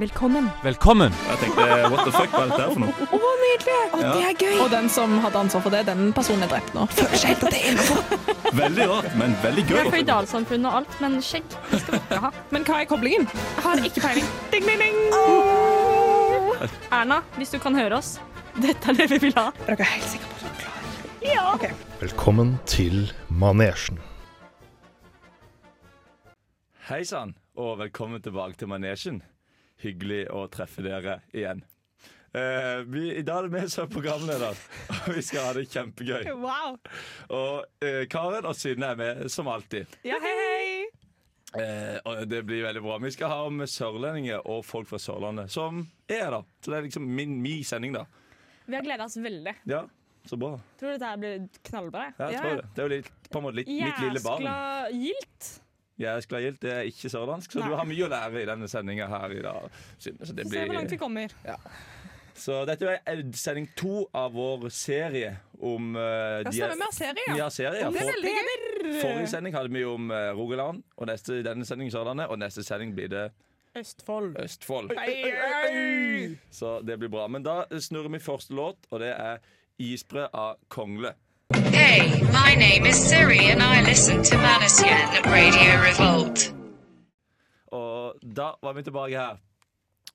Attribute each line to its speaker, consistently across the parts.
Speaker 1: Velkommen.
Speaker 2: Velkommen!
Speaker 3: Jeg tenkte what the fuck, hva er dette her for noe?
Speaker 1: Å, nydelig! Å, Det er gøy.
Speaker 4: Og den som hadde ansvar for det, den personen er drept nå.
Speaker 1: Føler seg helt at det er innenfor.
Speaker 3: Veldig rart, men veldig gøy.
Speaker 5: Jeg er føydalsamfunn og alt, men skjegg det skal dere ha.
Speaker 4: Men hva er koblingen?
Speaker 5: Jeg har ikke peiling. Ding, ding, ding. Erna, hvis du kan høre oss, dette er det vi vil ha.
Speaker 4: Er dere helt sikre på at dere klarer det?
Speaker 6: Velkommen til manesjen.
Speaker 3: Hei sann, og velkommen tilbake til Manesjen. Hyggelig å treffe dere igjen. Eh, vi, I dag er det vi som er programleder, og vi skal ha det kjempegøy.
Speaker 4: Wow.
Speaker 3: Og eh, Karen og Synne er med, som alltid.
Speaker 4: Ja, hei, hei.
Speaker 3: Eh, og det blir veldig bra. Vi skal ha med sørlendinger og folk fra Sørlandet, som er her, da. Så det er liksom min, min sending, da.
Speaker 5: Vi har gleda oss veldig.
Speaker 3: Ja, så bra.
Speaker 5: Tror dette her blir knallbra.
Speaker 3: Ja, jeg tror det. Det er jo litt, på en måte litt mitt lille barn.
Speaker 5: gildt.
Speaker 3: Jæskla Gilt det er ikke sørlandsk, så
Speaker 5: Nei.
Speaker 3: du har mye å lære i denne sendinga her i dag. Synne, Så, det blir...
Speaker 5: kommer.
Speaker 3: så dette er sending to av vår serie om uh,
Speaker 4: serie.
Speaker 3: Ja, serier.
Speaker 4: Det er
Speaker 3: For,
Speaker 4: veldig gøy.
Speaker 3: forrige sending hadde vi om eh, Rogaland, og neste, denne sendingen Sørlandet, og neste sending blir det
Speaker 5: Østfold.
Speaker 3: Østfold.
Speaker 4: Hei,
Speaker 3: Så det blir bra. Men da snurrer vi første låt, og det er 'Isbre' av Kongle.
Speaker 7: Hey, my name is Siri and I listen to Manasian Radio Revolt.
Speaker 3: Og da var vi tilbake her.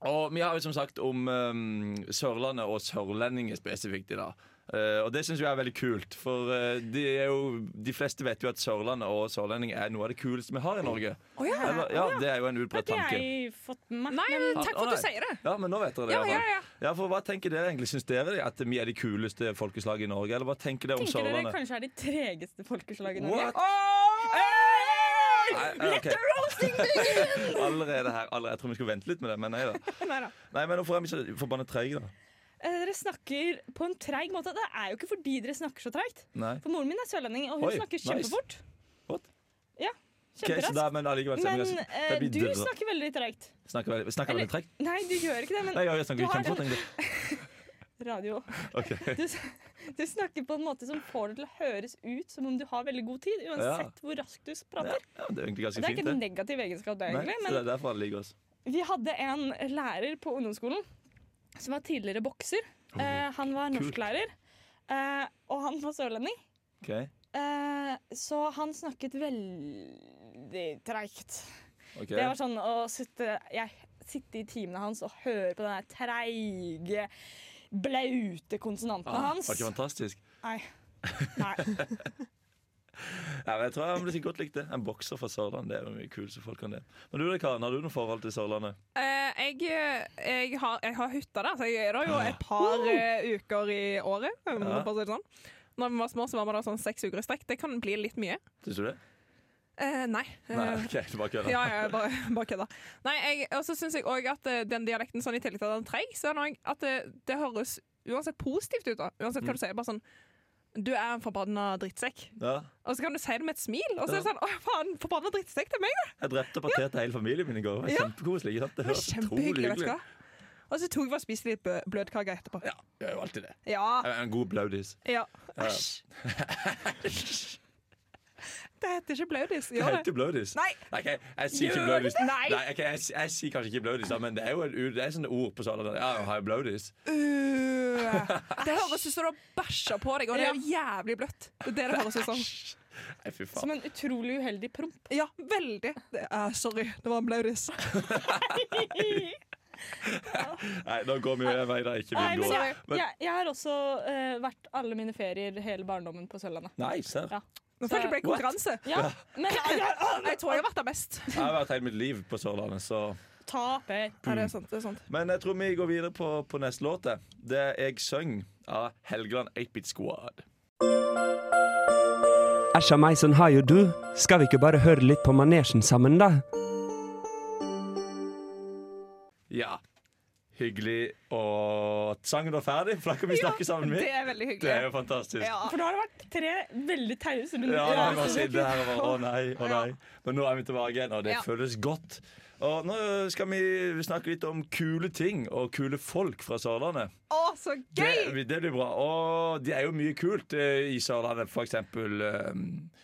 Speaker 3: Og vi har jo som sagt om um, Sørlandet og sørlendinger spesifikt i dag. Eh, og det syns jeg er veldig kult, for eh, de, er jo, de fleste vet jo at Sørlandet og sørlendinger er noe av det kuleste vi har i Norge. Eller, ja, det er jo en utbredt tanke. Ah,
Speaker 5: fått med
Speaker 4: Nei, men takk for at du sier det.
Speaker 3: Ja, men nå vet dere det.
Speaker 4: Ja,
Speaker 3: i hvert fall.
Speaker 4: ja,
Speaker 3: ja, for Hva tenker dere egentlig? Syns dere at vi er de kuleste folkeslaget i Norge? Eller hva tenker dere om Sørlandet?
Speaker 5: kanskje er de tregeste folkeslagene
Speaker 3: What? Nei, eh, ok. Allerede her. Allerede. Jeg tror vi skulle vente litt med det, men nei da. Nei, men Hvorfor er vi så forbanna treige, sånn da?
Speaker 5: Eh, Dere snakker på en treig måte. Det er jo ikke fordi dere snakker så treigt.
Speaker 3: Nei.
Speaker 5: For moren min er sørlending, og hun
Speaker 3: Oi,
Speaker 5: snakker
Speaker 3: nice.
Speaker 5: kjempefort.
Speaker 3: What?
Speaker 5: Ja,
Speaker 3: Ok, så
Speaker 5: kjemperaskt.
Speaker 3: da, men allikevel
Speaker 5: Men
Speaker 3: stemmer
Speaker 5: eh, du snakker veldig tregt.
Speaker 3: Snakker veldig, snakker
Speaker 5: Eller-
Speaker 3: veldig tregt?
Speaker 5: Nei, du gjør ikke det, men
Speaker 3: Nei, jeg snakker
Speaker 5: du har
Speaker 3: kjempefort.
Speaker 5: den-
Speaker 3: egentlig.
Speaker 5: radio
Speaker 3: Ok.
Speaker 5: du, s- du snakker på en måte som får det til å høres ut som om du har veldig god tid, uansett hvor raskt du prater.
Speaker 3: Ja, det er
Speaker 5: Og
Speaker 3: egentlig
Speaker 5: det
Speaker 3: ganske
Speaker 5: er
Speaker 3: fint,
Speaker 5: ikke en
Speaker 3: det.
Speaker 5: negativ egenskap, det,
Speaker 3: Nei,
Speaker 5: egentlig.
Speaker 3: så det
Speaker 5: Men
Speaker 3: er derfor han liker oss.
Speaker 5: vi hadde en lærer på ungdomsskolen som var tidligere bokser. Eh, han var
Speaker 3: kult.
Speaker 5: norsklærer, eh, og han var sørlending.
Speaker 3: Ok,
Speaker 5: Eh, så han snakket veldig treigt.
Speaker 3: ok.
Speaker 5: Det var sånn å sitte, jeg, sitte i timene hans og høre på den der treige, blaute konsonanten
Speaker 3: Ah,
Speaker 5: hans.
Speaker 3: var ikke fantastisk?
Speaker 5: Nei. Nei.
Speaker 3: Ja, men jeg tror han ble sikkert godt likt det. En bokser fra Sørlandet. Det er jo mye kuleste folk kan det. Men du da, Karen, har du noe forhold til Sørlandet?
Speaker 4: Eh, jeg, eh, jeg, har, jeg har hytta der, så jeg er der jo et par eh, uker i året. om
Speaker 3: Ah. Ja.
Speaker 4: man får si det sånn. Når vi var små, så var vi der sånn seks uker i strekk. Det kan bli litt mye.
Speaker 3: Syns du det?
Speaker 4: Eh, nei.
Speaker 3: Nei,
Speaker 4: Eh,
Speaker 3: ok, du bare kødder.
Speaker 4: Ja, ja, jeg bare, bare kødda. Nei, jeg- og så syns jeg òg at eh, den dialekten sånn i tillegg til at den er treig, så er det også at det, det høres uansett positivt ut. da. Uansett
Speaker 3: Mm.
Speaker 4: hva du sier. Bare sånn Du er en forbanna drittsekk.
Speaker 3: Ja.
Speaker 4: Og så kan du si det med et smil, og så er det sånn Å, faen, forbanna drittsekk, det er meg, det!
Speaker 3: Jeg drepte og parterte hele familien min i går. Det var
Speaker 4: Ja.
Speaker 3: Kjempekoselig. ikke sant? Det
Speaker 4: det var
Speaker 3: høres utrolig
Speaker 4: kjempehyggelig, vet du
Speaker 3: hyggelig
Speaker 4: hva. Og så tok vi og spiste litt bø- bløtkake etterpå.
Speaker 3: Ja, gjør jo alltid det.
Speaker 4: Ja.
Speaker 3: En god blaudis.
Speaker 4: ja.
Speaker 3: Ja.
Speaker 4: Æsj. Det heter ikke blaudis.
Speaker 3: Det
Speaker 4: Gjør det?
Speaker 3: heter blaudis.
Speaker 4: Nei.
Speaker 3: Ok, jeg sier ikke
Speaker 4: Gjør
Speaker 3: blaudis.
Speaker 4: det?
Speaker 3: Nei,
Speaker 4: Nei.
Speaker 3: ok, jeg, s- jeg sier kanskje ikke blaudis, da, men det er jo et, u- det er sånne ord på Sørlandet. Ja, jeg har jo blaudis.
Speaker 4: Øh. Det høres ut som du har bæsja på deg, og det er jo jævlig bløtt. Det er det det høres ut som.
Speaker 3: Nei, fy faen.
Speaker 5: Som en utrolig uheldig promp.
Speaker 4: Ja, veldig. Det, eh, sorry, det var en blaudis.
Speaker 3: Nei, nå går vi jo en vei der ikke
Speaker 5: Nei,
Speaker 3: vi
Speaker 5: men
Speaker 3: går.
Speaker 5: jeg,
Speaker 3: Men-
Speaker 5: jeg, jeg har også eh, vært alle mine ferier hele barndommen på Sørlandet.
Speaker 3: Nei, serr.
Speaker 5: Ja.
Speaker 4: Nå følte jeg ble konkurranse.
Speaker 5: Ja, men
Speaker 4: Jeg tror jeg har vært der best.
Speaker 3: Jeg har vært hele mitt liv på Sørlandet, så
Speaker 5: taper.
Speaker 4: Ja, det er sant. det er sant.
Speaker 3: Men jeg tror vi går videre på, på neste låt. jeg. Det er 'Jeg søng' av Helgeland 8-Bit Squad.
Speaker 8: Æsja meg, sånn har jo du. Skal vi ikke bare høre litt på manesjen sammen, da?
Speaker 3: Ja. Hyggelig. Og sangen var ferdig, for da kan vi snakke sammen
Speaker 4: Det
Speaker 3: med.
Speaker 4: er veldig
Speaker 3: Det er jo
Speaker 4: hyggelig.
Speaker 3: fantastisk.
Speaker 4: Ja.
Speaker 5: For nå har det vært tre veldig tause runder.
Speaker 3: Ja, da har vi bare sittet her og bare Å nei, å
Speaker 4: Ja.
Speaker 3: nei. Men nå er vi tilbake igjen, og det
Speaker 4: Ja.
Speaker 3: føles godt. Og nå skal vi snakke litt om kule ting og kule folk fra Sørlandet.
Speaker 4: Å, så
Speaker 3: Det,
Speaker 4: gøy!
Speaker 3: det blir bra. Og det er jo mye kult eh, i Sørlandet. For eksempel eh,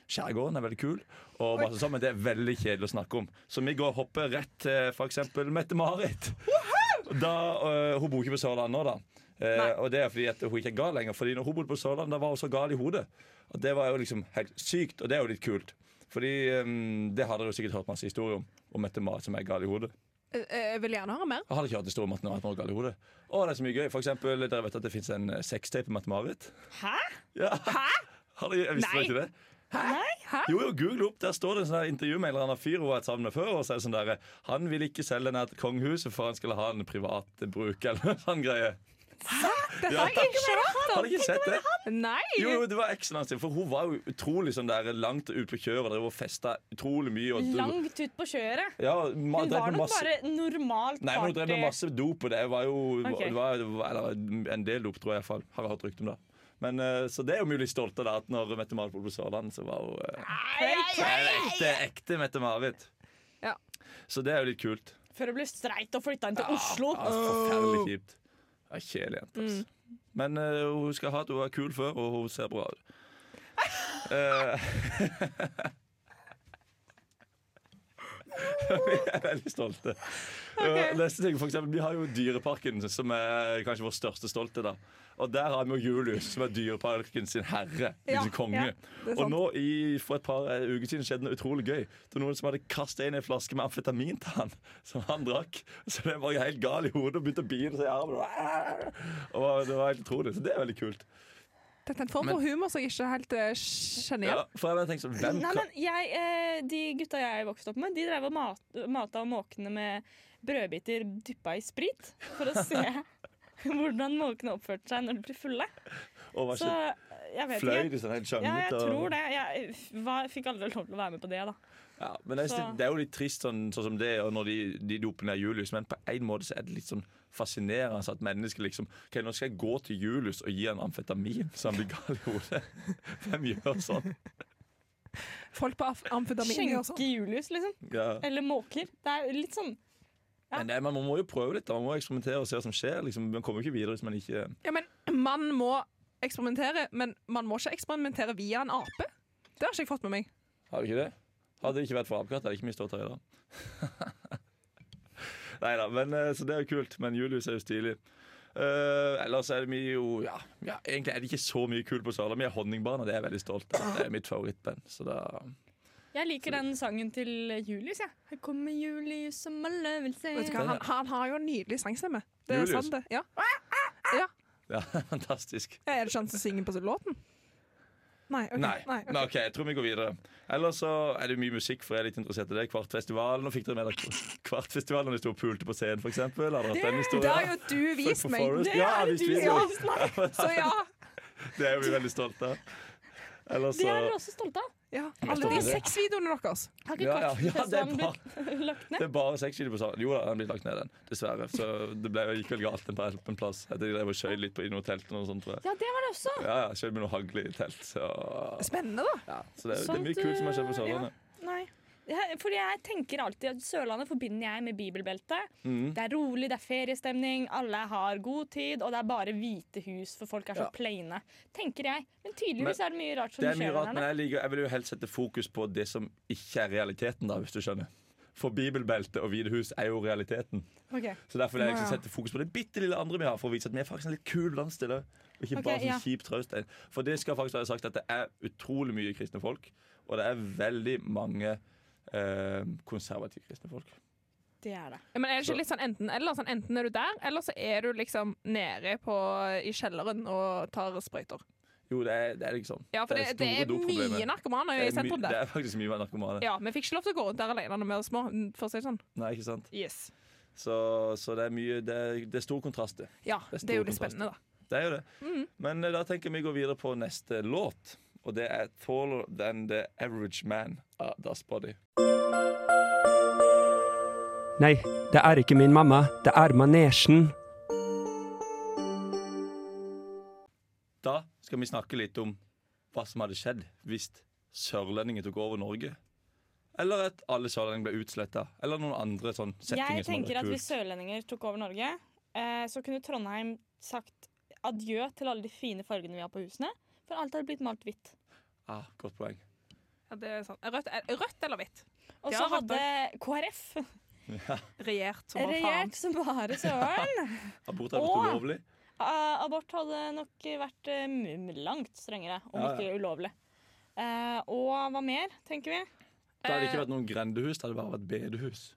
Speaker 3: skjærgården er veldig kul, og masse sånn, men det er veldig kjedelig å snakke om. Så vi går og hopper rett til for eksempel Mette-Marit. da, øh, hun bor ikke på Sørlandet nå, da. Eh,
Speaker 4: Nei.
Speaker 3: og det er fordi at hun ikke er gal lenger. Fordi når hun bodde på Sørlandet, da var hun så gal i hodet. Og det var jo liksom helt sykt, og det er jo litt kult. Fordi ehm, det har dere jo sikkert hørt masse historier om. Om Mette Marit som er gal i hodet.
Speaker 4: Eh, eh, Jeg vil gjerne høre mer.
Speaker 3: Jeg hadde ikke hørt historien om at Mette Marit var gal i hodet. Å, det er så mye gøy. For eksempel, dere vet at det fins en eh, sextape med Mette Marit?
Speaker 5: Hæ?
Speaker 3: Ja. Hæ? Har dere, visste dere
Speaker 4: Nei.
Speaker 3: ikke det? Jo, jo, google opp. Der står det en sånn her intervju med en eller annen fyr hun har vært sammen med før. Og så er det sånn der, Han vil ikke selge den her til kongehuset, for han skulle ha den privat bruk. Eller en sånn greie.
Speaker 4: Dette
Speaker 3: Ja.
Speaker 4: har jeg ikke hørt
Speaker 3: Har dere
Speaker 4: om.
Speaker 3: ikke sett det?
Speaker 4: Nei!
Speaker 3: Jo, jo, det var eksen hans. For hun var jo utrolig sånn der langt ut på kjøret og drev og festa utrolig mye. Og,
Speaker 5: Langt ut på kjøret.
Speaker 3: ja, ma,
Speaker 5: Hun
Speaker 3: drev
Speaker 5: var
Speaker 3: med
Speaker 5: nok
Speaker 3: masse,
Speaker 5: bare normalt
Speaker 3: Nei, men hun drev med
Speaker 5: party.
Speaker 3: masse dop, og det var jo
Speaker 5: Ok.
Speaker 3: det var, det var, Eller en del dop, tror jeg iallfall. Har jeg hørt rykte om det. Men, eh, så det er jo mulig stolt av det at når Mette-Marit bodde på Sørlandet, så var hun eh,
Speaker 5: Fake.
Speaker 3: Nei, det er ekte, ekte Mette-Marit.
Speaker 4: Ja.
Speaker 3: Så det er jo litt kult.
Speaker 5: Før hun ble streit og flytta inn til Oslo.
Speaker 3: Ja, altså. forferdelig kjipt. Ja, Kjedelig jente, altså.
Speaker 4: Mm.
Speaker 3: Men eh, hun skal ha at hun var kul før, og hun ser bra ut. Eh, Vi er veldig stolte. Og Neste ting, for eksempel, Vi har jo Dyreparken, som er kanskje vår største stolte. da Og der har vi jo Julius, som er Dyreparken sin herre.
Speaker 4: Ja,
Speaker 3: sin konge.
Speaker 4: ja, det er
Speaker 3: og
Speaker 4: sant.
Speaker 3: nå i, for et par eh, uker siden skjedde noe utrolig gøy. Det var Noen som hadde kastet inn en flaske med amfetamin til han, som han drakk. Så det var jo helt gal i hodet og begynte å bite seg i armen. Og det var helt utrolig. Så det er veldig kult.
Speaker 4: Dette er en form for humor som jeg ikke helt eh, kjenner
Speaker 3: Ja,
Speaker 4: igjen.
Speaker 3: for jeg bare tenkte sånn, hvem
Speaker 5: Nei,
Speaker 3: kan...
Speaker 5: men jeg, eh, De gutta jeg vokste opp med, de drev og mat, mata måkene med brødbiter dyppa i sprit. For å se hvordan måkene oppførte seg når de ble fulle.
Speaker 3: Og var
Speaker 5: Så eh,
Speaker 3: ikke
Speaker 5: jeg vet
Speaker 3: fløy
Speaker 5: ikke.
Speaker 3: de sånn helt
Speaker 5: Ja,
Speaker 3: skjønnet,
Speaker 5: jeg
Speaker 3: og-
Speaker 5: tror det. Jeg f- var, fikk aldri lov til å være med på det, da.
Speaker 3: Ja, men det, er,
Speaker 5: Så-
Speaker 3: det er jo litt trist sånn, sånn som det er, og når de, de doper ned Julius, men på en måte så er det litt sånn fascinerende at mennesker liksom Ok, nå skal jeg gå til Julius og gi han amfetamin, så han blir gal i hodet. Hvem gjør sånn?
Speaker 4: Folk på af- amfetamin gjør sånn.
Speaker 5: Skjenke Julius, liksom.
Speaker 3: Ja.
Speaker 5: Eller måker. Det er litt sånn
Speaker 3: Men det, er- man må jo prøve litt, da. man må eksperimentere og se hva som skjer. Liksom. Man kommer jo ikke videre hvis man ikke
Speaker 4: Ja, men man må eksperimentere, men man må ikke eksperimentere via en ape. Det har ikke jeg fått med meg.
Speaker 3: Har du ikke det? Hadde det ikke vært for apekatt, hadde det ikke mye stått her i dag. Nei da, men eh, så det er jo kult. Men Julius er jo stilig. Eh, ellers er det mye jo ja, ja, Egentlig er det ikke så mye kult på Sørlandet. Vi er Honningbarna, det er jeg veldig stolt av. Det er mitt favorittband. Så da
Speaker 5: Jeg liker den sangen til Julius, jeg. Her kommer Julius som alløvelse.
Speaker 4: Vet du hva? Han, han har jo en nydelig sangstemme. Det er
Speaker 3: Julius?
Speaker 4: sant, det. Ja.
Speaker 3: ja, fantastisk.
Speaker 4: Ja, Er det ikke han som synger på låten? Nei. ok.
Speaker 3: Nei.
Speaker 4: Nei, ok.
Speaker 3: Men OK, jeg tror vi går videre. Ellers så er det mye musikk, for jeg er litt interessert i det. Kvartfestivalen. Nå fikk dere med dere Kvartfestivalen da de sto og pulte på scenen, f.eks. Har dere hatt den
Speaker 4: Det har
Speaker 3: historien?
Speaker 4: jo du vist meg.
Speaker 3: Det ja,
Speaker 5: er det
Speaker 3: visst,
Speaker 5: du
Speaker 3: visst.
Speaker 5: som
Speaker 4: har Så ja.
Speaker 3: Det er vi veldig stolte av. Ellers
Speaker 5: Det
Speaker 3: så
Speaker 5: er dere også stolte av.
Speaker 4: ja. Alle de sexvideoene deres.
Speaker 5: Har ikke
Speaker 3: Ja, ja, ja, det er
Speaker 5: Kvartfestivalen blitt lagt ned?
Speaker 3: Det er bare sexskyld på salen. Jo da, den blir lagt ned, den. Dessverre. Så det ble, gikk vel galt en, par- en plass. Jeg drev og skjøt litt på i noen telt og noe sånt, tror jeg.
Speaker 5: Ja, det var det også.
Speaker 3: Ja, ja, skjøt med noe hagle i telt. Så,
Speaker 4: Spennende, da.
Speaker 3: ja. så det, er- det er
Speaker 5: Sånt,
Speaker 3: mye kult som har skjedd på
Speaker 5: eh, ja.
Speaker 3: Sørlandet.
Speaker 5: Nei. Jeg, fordi jeg tenker alltid at Sørlandet forbinder jeg med bibelbeltet.
Speaker 3: Mm.
Speaker 5: Det er rolig, det er feriestemning, alle har god tid, og det er bare hvite hus, for folk er så
Speaker 3: Ja.
Speaker 5: plaine. Tenker jeg. Men tydeligvis er det mye rart som
Speaker 3: Det er mye
Speaker 5: skjer
Speaker 3: rart,
Speaker 5: der
Speaker 3: men
Speaker 5: nede.
Speaker 3: jeg, liker, jeg vil jo helst sette fokus på det som ikke er realiteten, da, hvis du skjønner. For bibelbelte og hvite hus er jo realiteten.
Speaker 5: Ok.
Speaker 3: Så derfor vil jeg
Speaker 4: Ja,
Speaker 3: liksom
Speaker 4: ja.
Speaker 3: sette fokus på det bitte lille andre vi har, for å vise at vi er faktisk en litt kul landsdel. også. Og ikke
Speaker 5: Ok,
Speaker 3: bare sånn
Speaker 5: ja.
Speaker 3: kjip traustein. For det skal faktisk være sagt at det er utrolig mye kristne folk, og det er veldig mange eh, konservative kristne folk.
Speaker 5: Det er det.
Speaker 4: Men er det ikke litt sånn enten eller? Sånn, enten er du der, eller så er du liksom nede på, i kjelleren og tar sprøyter.
Speaker 3: Jo, det er, det er liksom
Speaker 4: Ja, for det, det er,
Speaker 3: doproblemer.
Speaker 4: mye narkomane
Speaker 3: Det
Speaker 4: i
Speaker 3: er my-
Speaker 4: sentrum
Speaker 3: Det
Speaker 4: der.
Speaker 3: er faktisk mye narkomane.
Speaker 4: Ja, Vi fikk ikke lov til å gå rundt der alene når vi var små. for å si det sånn.
Speaker 3: Nei, ikke sant?
Speaker 4: Yes.
Speaker 3: Så, så det er mye Det er, det er stor kontrast, det.
Speaker 4: Ja,
Speaker 3: Det er
Speaker 4: Det er jo
Speaker 3: stor kontrast.
Speaker 4: litt spennende, da.
Speaker 3: Det er jo det. Men eh, da tenker jeg vi går videre på neste låt. Og det er 'Taller Than The Average Man' av Das Body.
Speaker 8: Nei, det er ikke min mamma. Det er manesjen.
Speaker 3: Da skal vi snakke litt om hva som hadde skjedd hvis sørlendinger tok over Norge. Eller at alle sørlendinger ble utsletta. Eller noen andre sånn settinger
Speaker 5: Jeg
Speaker 3: som hadde
Speaker 5: tenker at
Speaker 3: vært
Speaker 5: hvis
Speaker 3: kult.
Speaker 5: sørlendinger tok over Norge, eh, så kunne Trondheim sagt adjø til alle de fine fargene vi har på husene. For alt hadde blitt malt hvitt.
Speaker 3: Ah, godt poeng.
Speaker 4: Ja, det er sant. Rødt, er- rødt eller hvitt?
Speaker 5: Og
Speaker 4: Ja,
Speaker 5: så
Speaker 4: rett
Speaker 5: hadde KrF
Speaker 4: Regjert som bare faen.
Speaker 5: Regjert som bare søren.
Speaker 3: Abort er
Speaker 5: Åh!
Speaker 3: blitt ulovlig.
Speaker 5: Eh, abort hadde nok vært eh, m- langt strengere, om
Speaker 3: Ja, ja.
Speaker 5: ikke ulovlig. Eh, og hva mer, tenker vi?
Speaker 3: Da hadde det
Speaker 5: Eh.
Speaker 3: ikke vært noen grendehus, det hadde bare vært bedehus.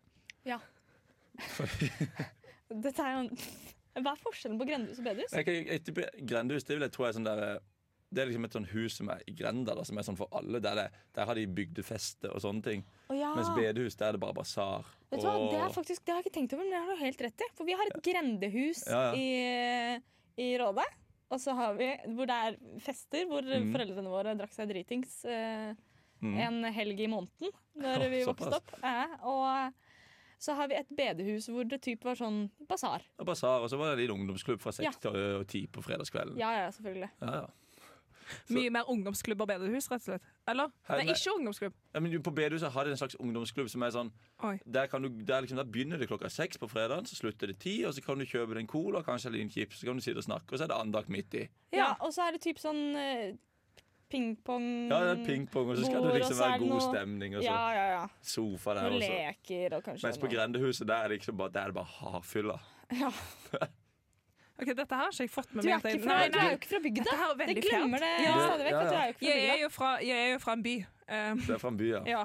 Speaker 5: Dette er jo en Hva er forskjellen på grendehus og bedehus?
Speaker 3: Jeg, jeg, jeg, tipper grendehus det vil jeg tro er sånn der Det er liksom et sånn hus som er i grenda, da, som er sånn for alle. Der, det, der har de bygdefeste og sånne ting.
Speaker 5: Å ja.
Speaker 3: Mens bedehus, der er det bare basar.
Speaker 5: Ah. Vet du hva, Det
Speaker 3: og-
Speaker 5: er faktisk, det har jeg ikke tenkt over, men det har du helt rett i. For vi har et grendehus
Speaker 3: Ja, ja.
Speaker 5: I, i Rådet. Og så har vi hvor det er fester, hvor
Speaker 3: Mm.
Speaker 5: foreldrene våre drakk seg dritings eh,
Speaker 3: Mm.
Speaker 5: en helg i måneden da
Speaker 3: Å,
Speaker 5: vi
Speaker 3: såpass.
Speaker 5: vokste opp. Ja, og så har vi et bedehus hvor det typ var sånn basar.
Speaker 3: og basar, og så var det en liten ungdomsklubb fra seks
Speaker 5: Ja.
Speaker 3: til ø, ti på fredagskvelden.
Speaker 5: Ja, ja, selvfølgelig.
Speaker 3: Ja, ja.
Speaker 4: Mye mer ungdomsklubb og bedehus, rett og slett. Eller?
Speaker 3: Hei,
Speaker 4: Nei,
Speaker 3: nei.
Speaker 4: ikke ungdomsklubb.
Speaker 3: Ja, men På bedehuset har de en slags ungdomsklubb som er sånn
Speaker 4: Oi.
Speaker 3: Der, kan du, der, liksom, der begynner det klokka seks på fredagen, så slutter det ti, og så kan du kjøpe deg en cola, kanskje en liten chips, så kan du sitte og snakke, og så er det andakt midt i.
Speaker 5: Ja, Og så er det typ sånn eh, pingpong
Speaker 3: Ja, det er
Speaker 4: Mm.
Speaker 3: pingpong, og så skal
Speaker 5: Bord,
Speaker 3: det
Speaker 5: og
Speaker 3: liksom
Speaker 5: så er
Speaker 3: være
Speaker 5: det
Speaker 3: god
Speaker 5: noe-
Speaker 3: stemning, og så
Speaker 5: Ja, ja, ja.
Speaker 3: sofa der.
Speaker 5: Noen
Speaker 3: Og så.
Speaker 5: leker og kanskje
Speaker 3: Mens på
Speaker 5: noe.
Speaker 3: grendehuset, der er det liksom bare, der er det bare hardfylla.
Speaker 5: Ja.
Speaker 4: Ok, Dette her har ikke jeg fått med
Speaker 5: Du er,
Speaker 4: meg. at jeg-
Speaker 5: ikke fra,
Speaker 4: Nei,
Speaker 5: du er jo ikke fra bygda.
Speaker 4: Dette her er
Speaker 5: Det
Speaker 4: veldig
Speaker 5: glemmer
Speaker 4: fjernt.
Speaker 5: det
Speaker 3: Ja.
Speaker 5: stadig vekk.
Speaker 3: Ja,
Speaker 5: at Du
Speaker 3: ja.
Speaker 5: er jo ikke
Speaker 4: Jeg er
Speaker 5: fra bygda.
Speaker 4: jo fra, jeg er jo fra en by. Um,
Speaker 3: Det er fra en by, ja.
Speaker 4: ja.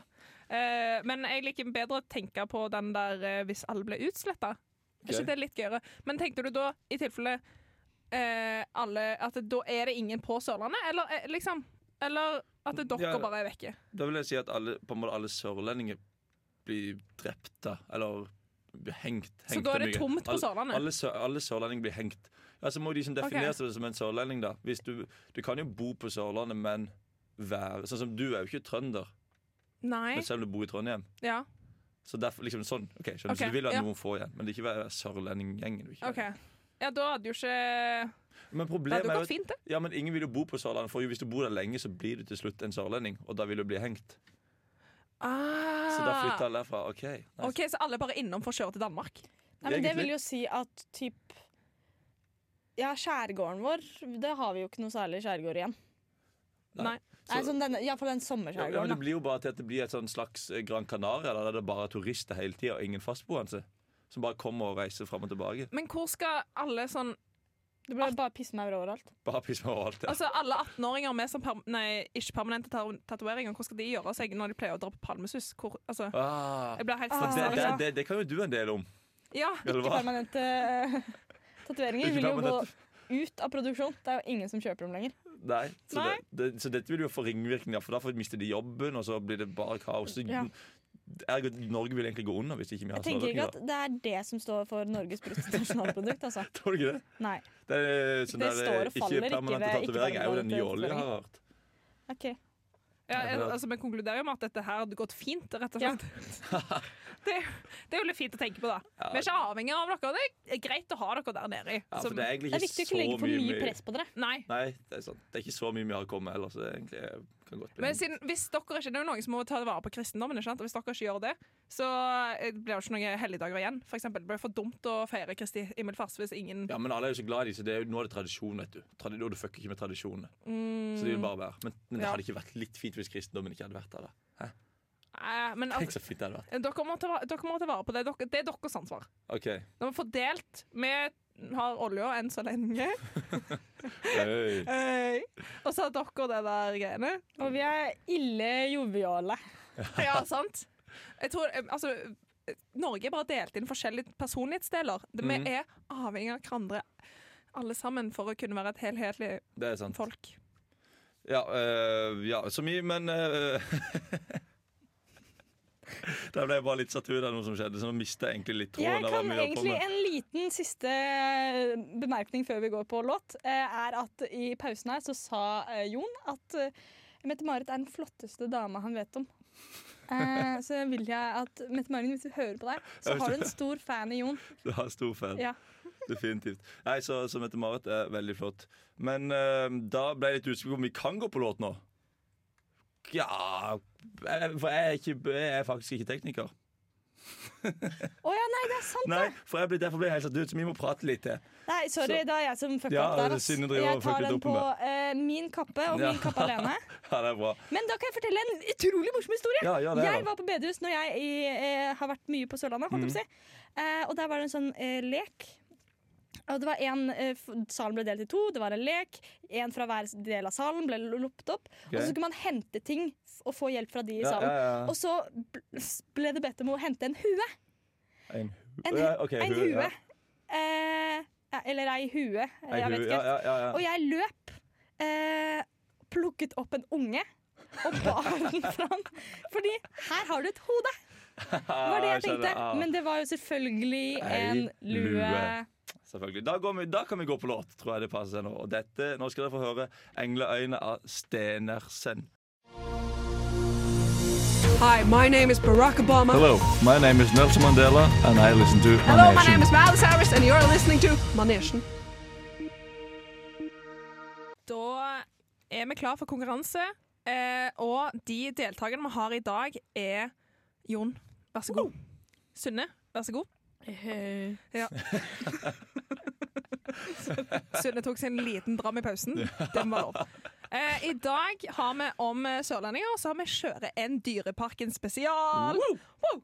Speaker 4: Eh, men jeg liker bedre å tenke på den der eh, hvis alle ble utsletta. Er
Speaker 3: Ok.
Speaker 4: ikke det litt gøyere? Men tenkte du da i tilfelle eh, alle At da er det ingen på Sørlandet, eller eh, liksom Eller at det dere
Speaker 3: Ja.
Speaker 4: bare er vekke?
Speaker 3: Da vil jeg si at alle, på en måte alle sørlendinger blir drept, da. Eller blir hengt.
Speaker 4: Så
Speaker 3: hengt
Speaker 4: da er
Speaker 3: er
Speaker 4: det
Speaker 3: mye.
Speaker 4: tomt på
Speaker 3: Alle-
Speaker 4: Sørlandet?
Speaker 3: Alle, sør, alle sørlendinger blir hengt. Ja, så må de som definerer
Speaker 4: Ok.
Speaker 3: seg som en sørlending, da. Hvis du, du kan jo bo på Sørlandet, men være Sånn som du er jo ikke trønder,
Speaker 4: Nei.
Speaker 3: men selv om du bor i Trondheim.
Speaker 4: Ja.
Speaker 3: Så derfor, liksom sånn, ok, skjønner du?
Speaker 4: Ok,
Speaker 3: Så du vil at
Speaker 4: ja.
Speaker 3: noen får igjen, men det er ikke være sørlendinggjengen. du ikke
Speaker 4: OK.
Speaker 3: er.
Speaker 4: Ja, da hadde jo ikke
Speaker 3: Men
Speaker 4: Det
Speaker 3: problemet
Speaker 4: hadde jo
Speaker 3: er
Speaker 4: gått
Speaker 3: jo
Speaker 4: fint, det.
Speaker 3: ja, men ingen vil jo bo på Sørlandet, for hvis du bor der lenge, så blir du til slutt en sørlending, og da vil du bli hengt. Så da
Speaker 4: Ah.
Speaker 3: flytter alle derfra. OK. nice.
Speaker 4: OK, så alle bare innom for å kjøre til Danmark?
Speaker 5: Nei, men det
Speaker 3: egentlig.
Speaker 5: vil jo si at typ Ja, skjærgården vår, det har vi jo ikke noe særlig skjærgård igjen.
Speaker 3: Nei.
Speaker 4: Nei.
Speaker 5: Nei,
Speaker 3: Så-
Speaker 5: sånn denne, ja, for den
Speaker 3: Ja, ja, men det
Speaker 5: sommerskjærgården. da.
Speaker 3: blir jo bare til at det blir et sånn slags eh, Gran Canaria, der det er bare turister hele tida og ingen fastboende. Som bare kommer og reiser fram og tilbake.
Speaker 4: Men hvor skal alle sånn
Speaker 5: Det blir bare pissmaur overalt.
Speaker 3: Bare pisser og alt det.
Speaker 4: Altså alle 18-åringer med sånn perm- nei, ikke permanente tar- tatoveringer, hvor skal de gjøre av seg når de pleier å dra på palmesus? Hvor, altså,
Speaker 3: Ah,
Speaker 4: jeg blir helt sånn-
Speaker 5: Ah.
Speaker 3: for det, det,
Speaker 5: ja.
Speaker 3: det, det kan jo du en del om.
Speaker 4: Ja,
Speaker 3: Eller
Speaker 5: Ikke
Speaker 3: hva?
Speaker 5: permanente eh, tatoveringer
Speaker 3: Ikke
Speaker 5: vil jo gå
Speaker 3: permanent.
Speaker 5: ut av produksjon. Det er jo ingen som kjøper dem lenger.
Speaker 3: Nei, så,
Speaker 4: Nei.
Speaker 3: Det, det, så dette vil jo få ringvirkninger, for derfor mister de jobben, og så blir det bare kaos. Så,
Speaker 5: Ja.
Speaker 3: ergo, Norge vil egentlig gå under hvis ikke vi har
Speaker 5: Jeg tenker ikke
Speaker 3: sørlendinger.
Speaker 5: at det er det som står for Norges bruttonasjonalprodukt, altså.
Speaker 3: Tror du ikke det?
Speaker 5: Nei.
Speaker 3: Det, er
Speaker 5: Det
Speaker 3: sånn
Speaker 5: står
Speaker 3: der,
Speaker 5: og
Speaker 3: eh,
Speaker 5: faller ikke
Speaker 3: ikke
Speaker 5: ved-
Speaker 3: permanente
Speaker 5: ikke
Speaker 3: tatoveringer er jo den nye
Speaker 5: permanente
Speaker 3: olja, har jeg hørt.
Speaker 5: OK.
Speaker 4: ja jeg, altså, Vi konkluderer jo med at dette her hadde gått fint, rett og slett. det, er jo- det er jo litt fint å tenke på, da. Vi er ikke avhengig av dere. Det er greit å ha dere der nede.
Speaker 3: Ja, for
Speaker 4: som-
Speaker 3: det er egentlig
Speaker 5: Det er
Speaker 3: ikke
Speaker 5: viktig å
Speaker 3: så
Speaker 5: ikke legge for
Speaker 3: mye
Speaker 5: mye
Speaker 3: vi-
Speaker 5: press på dere.
Speaker 4: Nei.
Speaker 3: Nei, det er sant. Det er ikke så mye vi har å komme med heller, så det er egentlig eh, kan godt bli
Speaker 4: Men siden, hvis dere ikke, Det er jo noen som må ta vare på kristendommen, ikke sant? og hvis dere ikke gjør det, så eh, blir det ikke noen helligdager igjen. For eksempel, det blir for dumt å feire Kristi himmelfart hvis ingen
Speaker 3: Ja, men alle er jo så glad i det, så det er jo, nå er det tradisjon, vet du. Tradi og du fucker ikke med tradisjonene. Så det vil bare være. Men, men det
Speaker 4: Ja.
Speaker 3: hadde ikke vært litt fint hvis kristendommen ikke hadde vært der, da.
Speaker 4: Nei, men
Speaker 3: Tenk
Speaker 4: altså,
Speaker 3: så fint det hadde vært.
Speaker 4: dere, må ta, va- dere må ta vare på det. Dere, det er deres ansvar.
Speaker 3: OK.
Speaker 4: Den var fordelt. Vi har olja enn så lenge.
Speaker 3: Hey.
Speaker 4: Øy. Og så har dere det der greiene.
Speaker 5: Og vi er ille joviale.
Speaker 4: Ja, sant? Jeg tror, eh, altså, eh, Norge er bare delt inn forskjellige personlighetsdeler. Det- Vi
Speaker 3: Mhm.
Speaker 4: er avhengig av hverandre alle sammen for å kunne være et helhetlig
Speaker 3: Det er sant.
Speaker 4: folk.
Speaker 3: Ja, øh, ja så mye, men øh, Der ble jeg bare litt satt ut av noe som skjedde, så nå mista jeg egentlig litt
Speaker 5: Jeg
Speaker 3: tråden. av hva
Speaker 5: kan
Speaker 3: vi holdt på
Speaker 5: egentlig
Speaker 3: med.
Speaker 5: En liten siste eh, bemerkning før vi går på låt, eh, er at i pausen her så sa eh, Jon at eh, Mette-Marit er den flotteste dama han vet om. Eh, Så vil jeg at Mette-Marit, hvis du hører på deg, så har du en stor fan i Jon.
Speaker 3: Du har stor fan.
Speaker 5: Ja.
Speaker 3: Definitivt. Nei, så, så Mette-Marit er veldig flott. Men øh, da ble jeg litt usikker på om vi kan gå på låt nå. eh, Ja jeg- For jeg er, ikke, jeg er faktisk ikke tekniker.
Speaker 5: Å ja, nei, det er sant,
Speaker 3: Nei,
Speaker 5: det.
Speaker 3: for jeg ble, derfor ble jeg helt satt ut, så vi må prate litt til.
Speaker 5: Nei, sorry,
Speaker 3: Så-
Speaker 5: det er jeg som fucka
Speaker 3: Ja,
Speaker 5: opp der.
Speaker 3: det er
Speaker 5: ass.
Speaker 3: synd å drive og
Speaker 5: Jeg
Speaker 3: fucke
Speaker 5: tar
Speaker 3: litt
Speaker 5: den
Speaker 3: opp
Speaker 5: på
Speaker 3: med.
Speaker 5: eh, min kappe og
Speaker 3: Ja.
Speaker 5: min kappe alene.
Speaker 3: Ja, det er bra.
Speaker 5: Men da kan jeg fortelle en utrolig morsom historie.
Speaker 3: Ja, ja, det er
Speaker 5: jeg
Speaker 3: det. Mm.
Speaker 5: var på bedehus når jeg i, eh, har vært mye på Sørlandet, holdt jeg på å si. Eh, og der var det en sånn eh, lek. Og det var en, eh, f- Salen ble delt i to, det var en lek. En fra hver del av salen ble lo- loppet opp. Og
Speaker 3: Ok.
Speaker 5: så skulle man hente ting f- og få hjelp fra de i
Speaker 3: Ja,
Speaker 5: salen.
Speaker 3: ja, ja.
Speaker 5: Og så bl- ble det bedt om å hente en hue.
Speaker 3: En,
Speaker 5: En,
Speaker 3: ja, ok,
Speaker 5: en
Speaker 3: hue,
Speaker 5: hue.
Speaker 3: ja.
Speaker 5: Eh, ja, eller ei hue.
Speaker 3: Ei
Speaker 5: jeg
Speaker 3: hue,
Speaker 5: vet ikke.
Speaker 3: ja, ja, ja, ja.
Speaker 5: Og jeg løp, eh, plukket opp en unge og bar den fram. Fordi her har du et hode, var det jeg
Speaker 3: skjønner,
Speaker 5: tenkte.
Speaker 3: ja.
Speaker 5: Men det var jo selvfølgelig en
Speaker 3: Ei
Speaker 5: lue.
Speaker 3: lue. Selvfølgelig. Da, går vi, da kan vi gå på låt, tror jeg det passer seg nå. Og dette, nå skal dere få høre 'Engleøyne' av Stenersen.
Speaker 1: Hi, my name is Barack Obama.
Speaker 3: Hello, my name is Nelson Mandela, and I listen to
Speaker 1: Hello, my name is Miles Harris, and you're listening to Manesjen.
Speaker 4: Da er vi klar for konkurranse, eh, og de deltakerne vi har i dag er Jon, vær så god. Sunne, vær så god. Ja. Sunne tok seg en liten dram i pausen. Den var lov. Eh, I dag har vi om eh, sørlendinger, så har vi Kjøre en Dyreparken spesial. Wow.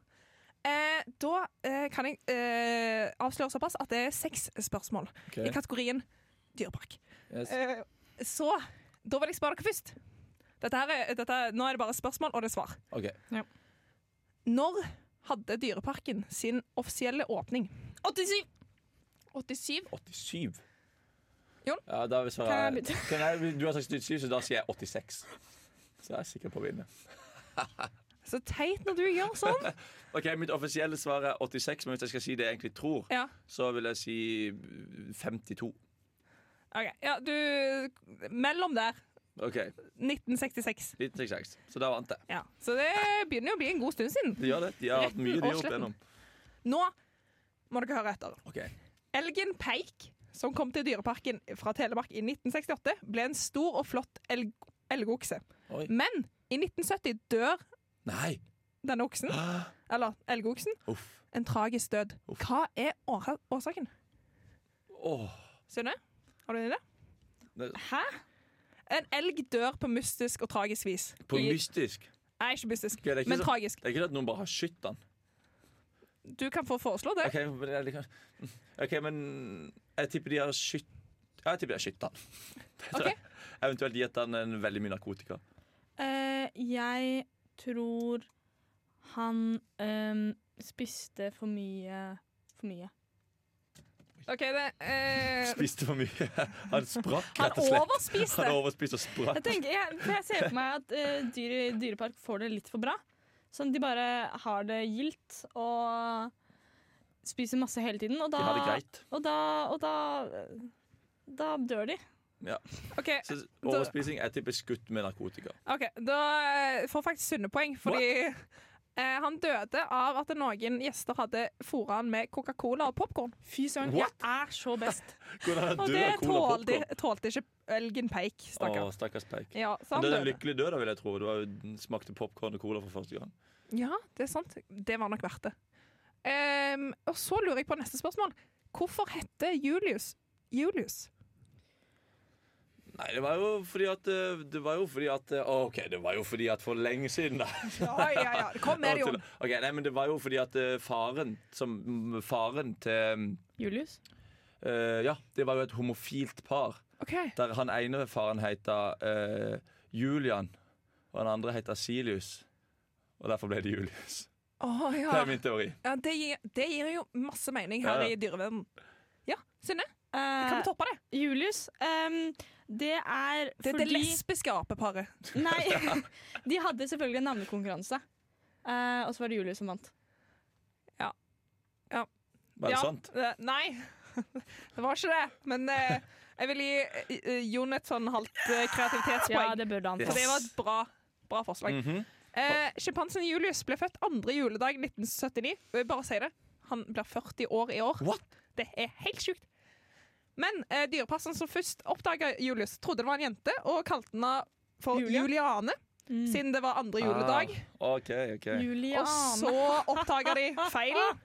Speaker 4: Eh, da eh, kan jeg eh, avsløre såpass at det er seks spørsmål i kategorien dyrepark. Eh, Så da vil jeg spørre dere først. Dette her er, dette, nå er det bare spørsmål, og det er svar.
Speaker 3: Ok.
Speaker 4: Når hadde Dyreparken sin offisielle åpning? 87! 87?
Speaker 3: 87.
Speaker 4: Jon?
Speaker 3: Ja, da vil jeg svare-
Speaker 5: Kan jeg bytte?
Speaker 3: Kan jeg- Du har sagt 87, så da sier jeg 86. Så jeg er sikker på å vinne.
Speaker 4: Så teit når du gjør sånn.
Speaker 3: Ok, Mitt offisielle svar er 86, men hvis jeg skal si det jeg egentlig tror,
Speaker 4: Ja,
Speaker 3: så vil jeg si 52.
Speaker 4: ok. ja du Mellom der.
Speaker 3: OK.
Speaker 4: 1966.
Speaker 3: 1966. Så da vant jeg.
Speaker 4: Ja. Så det begynner jo å bli en god stund siden.
Speaker 3: De gjør det. De har hatt mye
Speaker 4: Retten
Speaker 3: de
Speaker 4: og
Speaker 3: har opp igjennom.
Speaker 4: Nå må dere høre etter.
Speaker 3: Ok.
Speaker 4: Elgen Peik, som kom til Dyreparken fra Telemark i 1968, ble en stor og flott elg elgokse.
Speaker 3: Oi.
Speaker 4: Men i 1970 dør
Speaker 3: Nei!
Speaker 4: denne oksen, eller elgoksen,
Speaker 3: Uff.
Speaker 4: en tragisk død. Hva er åra- årsaken?
Speaker 3: Åh.
Speaker 4: Synne, har du en idé?
Speaker 3: Det-
Speaker 4: Hæ? En elg dør på mystisk og tragisk vis.
Speaker 3: På
Speaker 4: I-
Speaker 3: mystisk.
Speaker 4: Nei, ikke mystisk,
Speaker 3: det er ikke
Speaker 4: men
Speaker 3: så-
Speaker 4: tragisk.
Speaker 3: Det er ikke det at noen bare har skutt den.
Speaker 4: Du kan få foreslå det.
Speaker 3: OK, men, jeg liker- Ok, men jeg tipper de har skutt Jeg tipper de har skutt den. Det tror jeg.
Speaker 4: Ok.
Speaker 3: Eventuelt gitt den en veldig mye narkotika.
Speaker 5: Eh, jeg tror han ehm, spiste for mye for mye.
Speaker 4: Ok, det eh,
Speaker 3: Spiste for mye. Han sprakk,
Speaker 4: Han
Speaker 3: rett og slett. Han
Speaker 4: overspiste!
Speaker 3: overspiste og sprakk.
Speaker 5: Jeg, tenker, jeg, for jeg ser for meg at eh, dyr i dyrepark får det litt for bra. Sånn de bare har det gildt og spiser masse hele tiden. Og
Speaker 3: De
Speaker 5: da,
Speaker 3: har det greit.
Speaker 5: Og da, og da, da dør de.
Speaker 4: Ok,
Speaker 3: Så overspising er typisk skutt med narkotika.
Speaker 4: ok, Da eh, får faktisk Sunne poeng, fordi eh, han døde av at noen gjester hadde fôra han med Coca-Cola og popkorn.
Speaker 5: Fy søren,
Speaker 3: What?
Speaker 5: jeg er så best.
Speaker 3: Hvordan er
Speaker 4: Og
Speaker 3: død
Speaker 4: det
Speaker 3: av cola og
Speaker 4: tålte,
Speaker 3: popcorn?
Speaker 4: tålte ikke elgen Peik,
Speaker 3: Å,
Speaker 4: stakkar.
Speaker 3: stakkars Peik.
Speaker 4: Ja, så
Speaker 3: Men
Speaker 4: han
Speaker 3: det er en
Speaker 4: døde.
Speaker 3: lykkelig død, da, vil jeg tro. Du har jo smakte popkorn og cola for første gang.
Speaker 4: Ja, det er sant. Det var nok verdt det. Ehm, og så lurer jeg på neste spørsmål. Hvorfor heter Julius Julius?
Speaker 3: Nei, det var jo fordi at eh, Det var jo fordi at eh, å, OK, det var jo fordi at for lenge siden, da.
Speaker 4: Ja, ja, ja. Kom med det, Jon.
Speaker 3: Ok, nei, men det var jo fordi at eh, faren som Faren til
Speaker 5: Julius?
Speaker 3: eh, Ja, det var jo et homofilt par.
Speaker 4: OK.
Speaker 3: Der han ene faren heter eh, Julian, og han andre heter Silius. Og derfor ble det Julius.
Speaker 4: Å, ja.
Speaker 3: Det er min teori.
Speaker 4: ja det, gir, det gir jo masse mening
Speaker 3: Ja,
Speaker 4: her
Speaker 3: ja.
Speaker 4: i dyreverdenen. Ja, Synne, kan vi toppe det?
Speaker 5: Eh, Julius, ehm, det er
Speaker 4: Det er det
Speaker 5: fordi
Speaker 4: lesbiske apeparet.
Speaker 5: Nei, de hadde selvfølgelig en navnekonkurranse. Eh, og så var det Julius som vant.
Speaker 3: Var det
Speaker 4: Ja,
Speaker 3: sant?
Speaker 4: eh, Nei, det var ikke det. Men eh, jeg vil gi eh, eh, Jon et sånn halvt eh, kreativitetspoeng.
Speaker 5: det burde han
Speaker 3: få.
Speaker 4: For det var et bra, bra forslag.
Speaker 3: Mhm.
Speaker 4: Eh, Sjimpansen Julius ble født andre juledag 1979. Og jeg bare sier det. Han blir 40 år i år.
Speaker 3: What?
Speaker 4: Det er helt sjukt. Men eh, dyrepasseren som først oppdaga Julius, trodde det var en jente og kalte henne for
Speaker 5: Julia?
Speaker 4: Juliane.
Speaker 5: Mm.
Speaker 4: siden det var andre juledag.
Speaker 3: Ah, OK, OK.
Speaker 5: Julian.
Speaker 4: Og så oppdaga de feilen.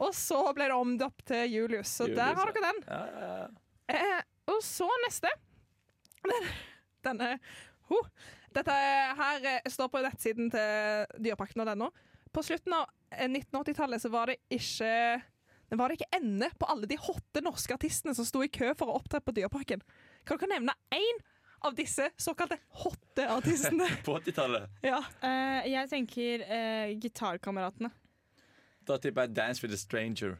Speaker 4: Og så ble det omdøpt til Julius, så der
Speaker 3: Julius,
Speaker 4: har dere den.
Speaker 3: Ja, ja, ja.
Speaker 4: Eh, og så neste. Denne ho. Dette her eh, står på nettsiden til Dyreparken og den nå. På slutten av eh, 1980-tallet så var det ikke det var det ikke ende på alle de hotte norske artistene som sto i kø for å opptre på Dyreparken. Kan dere nevne én av disse såkalte hotte artistene?
Speaker 3: På 80-tallet
Speaker 4: ja.
Speaker 5: Eh, jeg tenker eh, Gitarkameratene.
Speaker 3: Da tipper jeg 'Dance with a Stranger'.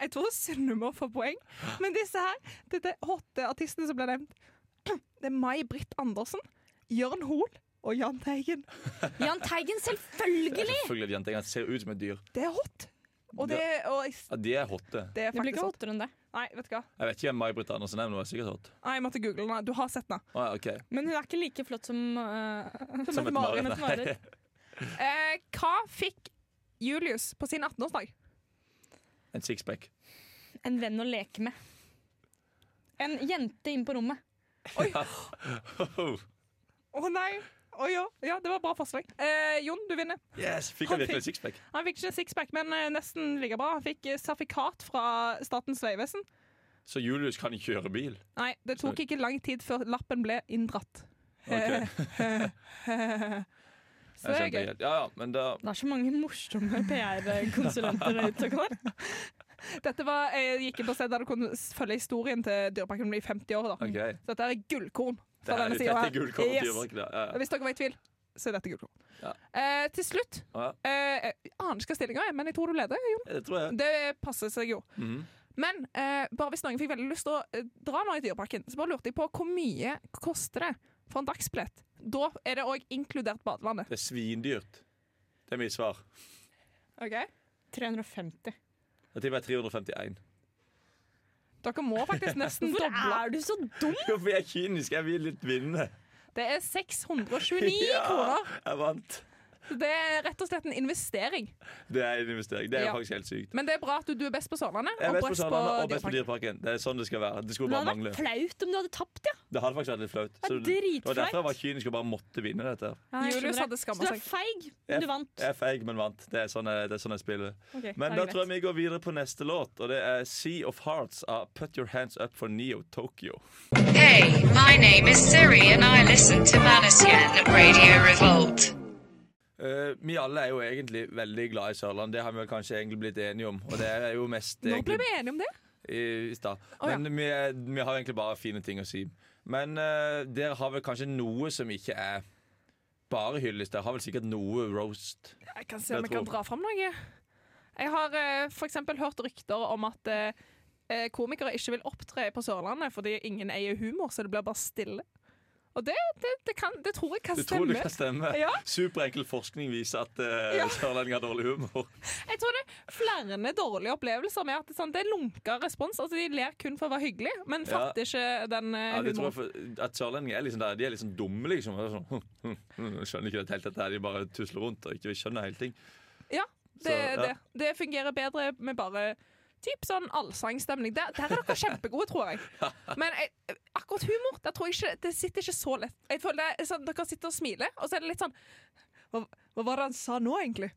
Speaker 4: Jeg tror Sunnmøre får poeng, men disse her, dette hotte artistene som ble nevnt, det er May-Britt Andersen, Jørn Hoel og Jahn Teigen.
Speaker 5: Jahn Teigen, selvfølgelig!
Speaker 3: Selvfølgelig er det jenter. Jeg ser ut som et dyr.
Speaker 4: Det er hot! Og det, og
Speaker 3: Ja, de er hotte.
Speaker 4: det er
Speaker 5: Det blir
Speaker 4: faktisk
Speaker 5: ikke
Speaker 4: hot.
Speaker 5: hottere enn det.
Speaker 4: Nei, vet du hva.
Speaker 3: Jeg vet ikke hvem May-Britt Andersen er, men hun er sikkert hot.
Speaker 4: Nei, jeg måtte google den. Du har sett den.
Speaker 3: Ah, ja, ok.
Speaker 5: Men hun er ikke like flott som eh,
Speaker 3: Som et mareritt.
Speaker 5: Som et mareritt.
Speaker 4: Eh, hva fikk Julius på sin 18-årsdag?
Speaker 3: En sixpack.
Speaker 5: En venn å leke med. En jente inn på rommet.
Speaker 3: Oh,
Speaker 4: Å nei! Å ja. ja, det var bra forslag. Eh, Jon, du vinner.
Speaker 3: Yes, Fikk
Speaker 4: Han
Speaker 3: han virkelig
Speaker 4: fikk-
Speaker 3: sixpack?
Speaker 4: Han fikk ikke sixpack, men eh, nesten like bra. Han fikk eh, sertifikat fra Statens vegvesen.
Speaker 3: Så Julius kan ikke kjøre bil?
Speaker 4: Nei, det tok
Speaker 3: Sorry.
Speaker 4: ikke lang tid før lappen ble inndratt.
Speaker 3: Ok.
Speaker 4: Så
Speaker 3: Jeg
Speaker 4: det er gøy.
Speaker 3: skjønte helt. Ja, ja, men da
Speaker 5: Det er så mange morsomme PR-konsulenter der ute og går.
Speaker 4: Dette var, jeg gikk inn på stedet der du kunne s- følge historien til Dyreparken i 50 år. Da.
Speaker 3: OK.
Speaker 4: Så dette er gullkorn
Speaker 3: Det
Speaker 4: fra
Speaker 3: er,
Speaker 4: denne
Speaker 3: dette
Speaker 4: sida
Speaker 3: er
Speaker 4: her.
Speaker 3: gullkort.
Speaker 4: Yes.
Speaker 3: Ja, ja.
Speaker 4: Og Hvis dere var i tvil, så er dette gullkorn.
Speaker 3: Ja.
Speaker 4: Eh, til slutt
Speaker 3: Ja.
Speaker 4: eh, Jeg aner ikke hva stillinga er, men jeg tror du leder. Jon.
Speaker 3: Det tror jeg.
Speaker 4: Det passer seg jo.
Speaker 3: Mhm.
Speaker 4: Men eh, bare hvis noen fikk veldig lyst til å eh, dra nå i Dyreparken, så bare lurte jeg på hvor mye koster det for en dagsbillett? Da er det òg inkludert badevannet.
Speaker 3: Det er svindyrt. Det er mitt svar.
Speaker 4: Ok?
Speaker 5: 350.
Speaker 3: Da tipper jeg 351.
Speaker 4: Dere må faktisk nesten doble.
Speaker 5: Er du så dum?
Speaker 3: Hvorfor er jeg kynisk? Jeg vil litt vinne.
Speaker 4: Det er 629
Speaker 3: Ja,
Speaker 4: kroner.
Speaker 3: Jeg vant.
Speaker 4: Det er rett og slett en investering.
Speaker 3: Det er en investering. Det er
Speaker 4: Ja.
Speaker 3: faktisk helt sykt.
Speaker 4: Men det er bra at du, du er best på Sørlandet.
Speaker 3: Jeg er best på
Speaker 4: best
Speaker 3: Sørlandet og best på
Speaker 4: Dyreparken.
Speaker 3: Dyreparken. Det er sånn det skal være. Det skulle
Speaker 5: Det
Speaker 3: bare
Speaker 5: hadde
Speaker 3: mangle.
Speaker 5: vært flaut om du hadde tapt, ja.
Speaker 3: Det hadde faktisk vært litt flaut.
Speaker 5: Det er
Speaker 3: Så det det var
Speaker 5: dritflaut.
Speaker 3: derfor jeg var kynisk og bare måtte vinne dette.
Speaker 4: jeg
Speaker 5: Julius
Speaker 4: skjønner det.
Speaker 5: hadde skammet seg. Så du er feig, men du vant.
Speaker 3: Jeg er feig, men vant. Det er sånn jeg, det er sånn jeg spiller.
Speaker 5: Ok,
Speaker 3: Men
Speaker 5: er
Speaker 3: da
Speaker 5: det
Speaker 3: tror jeg
Speaker 5: greit.
Speaker 3: vi går videre på neste låt, og det er Sea of Hearts av Put Your Hands Up for Neo Tokyo.
Speaker 7: Hey, my name is Siri and I listen to Manasian Radio Revolt.
Speaker 3: Eh, vi alle er jo egentlig veldig glad i Sørland, det har vi vel kanskje egentlig blitt enige om. Og det er jo mest
Speaker 4: Nå ble
Speaker 3: egentlig,
Speaker 4: vi enige om det.
Speaker 3: i, i stad.
Speaker 4: Å, ja.
Speaker 3: Men vi, er- vi har egentlig bare fine ting å si. Men eh, dere har vel kanskje noe som ikke er bare hyllest. Dere har vel sikkert noe roast.
Speaker 4: Jeg kan se om
Speaker 3: Det
Speaker 4: jeg
Speaker 3: tror
Speaker 4: kan
Speaker 3: jeg.
Speaker 4: dra fram noe. Jeg har eh, for eksempel hørt rykter om at eh, eh, komikere ikke vil opptre på Sørlandet fordi ingen eier humor, så det blir bare stille. Og det, det, det, kan, det tror jeg kan
Speaker 3: Du tror det
Speaker 4: stemme.
Speaker 3: kan stemme?
Speaker 4: Ja.
Speaker 3: Superenkel forskning viser at uh,
Speaker 4: Ja.
Speaker 3: sørlendinger har dårlig humor.
Speaker 4: Jeg tror det er flere dårlige opplevelser med at det, er sånn, det er lunka respons. Altså, de ler kun for å være hyggelig, men
Speaker 3: Ja.
Speaker 4: fatter ikke den eh,
Speaker 3: Ja, det tror jeg
Speaker 4: humoren.
Speaker 3: for, at sørlendinger er liksom der, de er liksom dumme, liksom. Og Sånn, hm, hm, hm, skjønner ikke det helt, dette her. De bare tusler rundt og ikke skjønner helt ting.
Speaker 4: Ja, det,
Speaker 3: Så, ja.
Speaker 4: det. det fungerer bedre med bare typ sånn allsangstemning. Der, der er dere kjempegode, tror jeg. Men jeg, akkurat humor, der tror jeg ikke, det sitter ikke så lett. Jeg føler det, er sånn, Dere sitter og smiler, og så er det litt sånn hva, hva var det han sa nå, egentlig?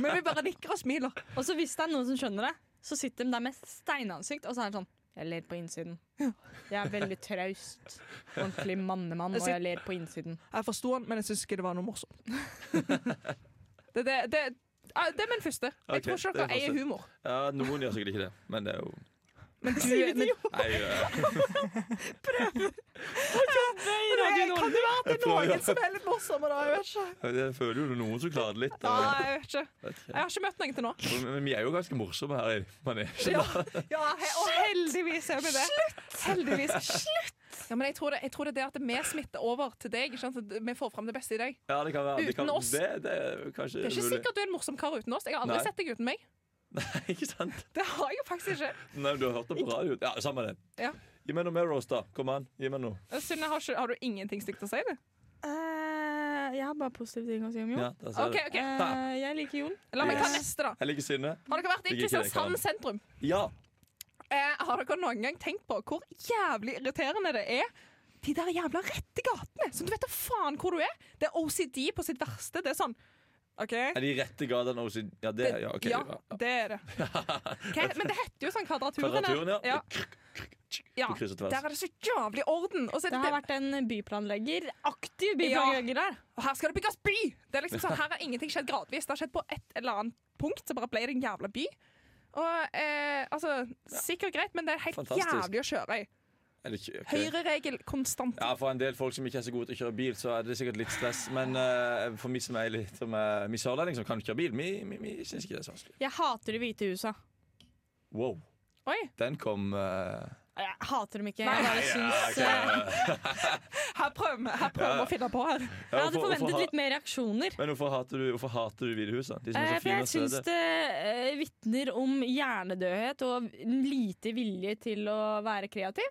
Speaker 4: Men vi bare nikker og smiler.
Speaker 5: Og så hvis det er noen som skjønner det, så sitter de der med steinansikt, og så er det sånn Jeg ler på innsiden. Jeg er veldig traust. Ordentlig mannemann, og jeg ler på innsiden.
Speaker 4: Jeg forsto han, men jeg syns ikke det var noe morsomt. Det, det, det, ja, det er min første. Jeg
Speaker 3: Ok,
Speaker 4: tror ikke
Speaker 3: det er
Speaker 4: dere eier
Speaker 3: første.
Speaker 4: humor.
Speaker 3: Ja, noen gjør sikkert ikke det, men det er jo
Speaker 4: Men du, men,
Speaker 3: Nei, eh,
Speaker 4: kan det være at det er
Speaker 3: prøver.
Speaker 4: noen som er litt morsomme, da? Jeg vet ikke.
Speaker 3: jeg føler jo det er noen som klarer det litt.
Speaker 4: Ja,
Speaker 3: da.
Speaker 4: jeg, vet ikke.
Speaker 3: Vet ikke.
Speaker 4: jeg har ikke møtt noen til nå.
Speaker 3: Men men vi er jo ganske morsomme her i manesjen.
Speaker 4: Ja, ja he og heldigvis er vi det. Heldigvis. Ja, men jeg tror, det, jeg tror det er det at vi smitter over til deg. Ikke sant? At Vi får fram det beste i deg.
Speaker 3: Ja, det kan være. det kan,
Speaker 4: Uten oss.
Speaker 3: Det, det er kanskje
Speaker 4: Det er ikke
Speaker 3: mulig.
Speaker 4: sikkert du er en morsom kar uten oss. Jeg har aldri
Speaker 3: Nei.
Speaker 4: sett deg uten meg.
Speaker 3: Nei, ikke sant?
Speaker 4: Det har jeg jo faktisk ikke.
Speaker 3: Nei, men du har hørt det på radio. Ja, samme det.
Speaker 4: Ja.
Speaker 3: Gi meg noe mer roast, da. Kom an, gi meg noe.
Speaker 4: Synne, Eh, har, ikke, har du ingenting stygt å si? Det?
Speaker 5: Eh, jeg har bare positive ting å si om Jon.
Speaker 3: Ja, der ser
Speaker 4: OK,
Speaker 3: du.
Speaker 4: ok,
Speaker 5: Eh, jeg liker Jon.
Speaker 4: La meg ta
Speaker 3: Yes.
Speaker 4: neste, da.
Speaker 3: Jeg liker Synne.
Speaker 4: Har dere vært i
Speaker 3: Ligger ikke i den
Speaker 4: Kristiansand
Speaker 3: kanalen.
Speaker 4: sentrum?
Speaker 3: Ja.
Speaker 4: Eh, har dere noen gang tenkt på hvor jævlig irriterende det er de der jævla rette gatene som du vet da faen hvor du er. Det er OCD på sitt verste. Det er sånn OK.
Speaker 3: Er de rette gatene også Ja, det ja, ok,
Speaker 4: ja,
Speaker 3: ja, ja.
Speaker 4: det er det. Ok, Men det heter jo sånn Kvadraturene.
Speaker 3: Kvadraturen, ja.
Speaker 4: ja. Ja,
Speaker 3: Du krysser tvers.
Speaker 4: Der er det så jævlig orden! Og, så er
Speaker 5: Det
Speaker 4: det
Speaker 5: har vært en byplanlegger. Aktiv byplanlegger der.
Speaker 4: og her skal det bygges by! Det er liksom sånn, Her har ingenting skjedd gradvis. Det har skjedd på et eller annet punkt, så bare ble det en jævla by. Og eh, altså, Sikkert greit, men det er helt
Speaker 3: Fantastisk.
Speaker 4: jævlig å kjøre i.
Speaker 3: Er det ikke- ok.
Speaker 4: Høyreregel konstant.
Speaker 3: Ja, For en del folk som ikke er så gode til å kjøre bil, så er det sikkert litt stress. Men eh, for meg som er litt som er vi sørlending som kan kjøre bil, vi, vi, vi syns ikke det er så vanskelig.
Speaker 5: Jeg hater Det hvite huset.
Speaker 3: Wow.
Speaker 4: Oi!
Speaker 3: Den kom eh,
Speaker 5: Jeg hater dem ikke.
Speaker 4: Nei.
Speaker 5: Jeg bare syns
Speaker 3: ok,
Speaker 5: eh,
Speaker 3: ja.
Speaker 4: Her prøver vi her prøver vi å finne på her.
Speaker 3: Ja,
Speaker 5: Jeg hadde
Speaker 3: hvorfor- hvorfor
Speaker 5: forventet
Speaker 3: ha-
Speaker 5: litt mer reaksjoner.
Speaker 3: Men hvorfor hater du, hvorfor hater du Hvilehuset? De som
Speaker 5: Eh,
Speaker 3: er så
Speaker 5: For
Speaker 3: fine
Speaker 5: jeg
Speaker 3: og
Speaker 5: syns
Speaker 3: søte.
Speaker 5: det eh, vitner om hjernedødhet og lite vilje til å være kreativ.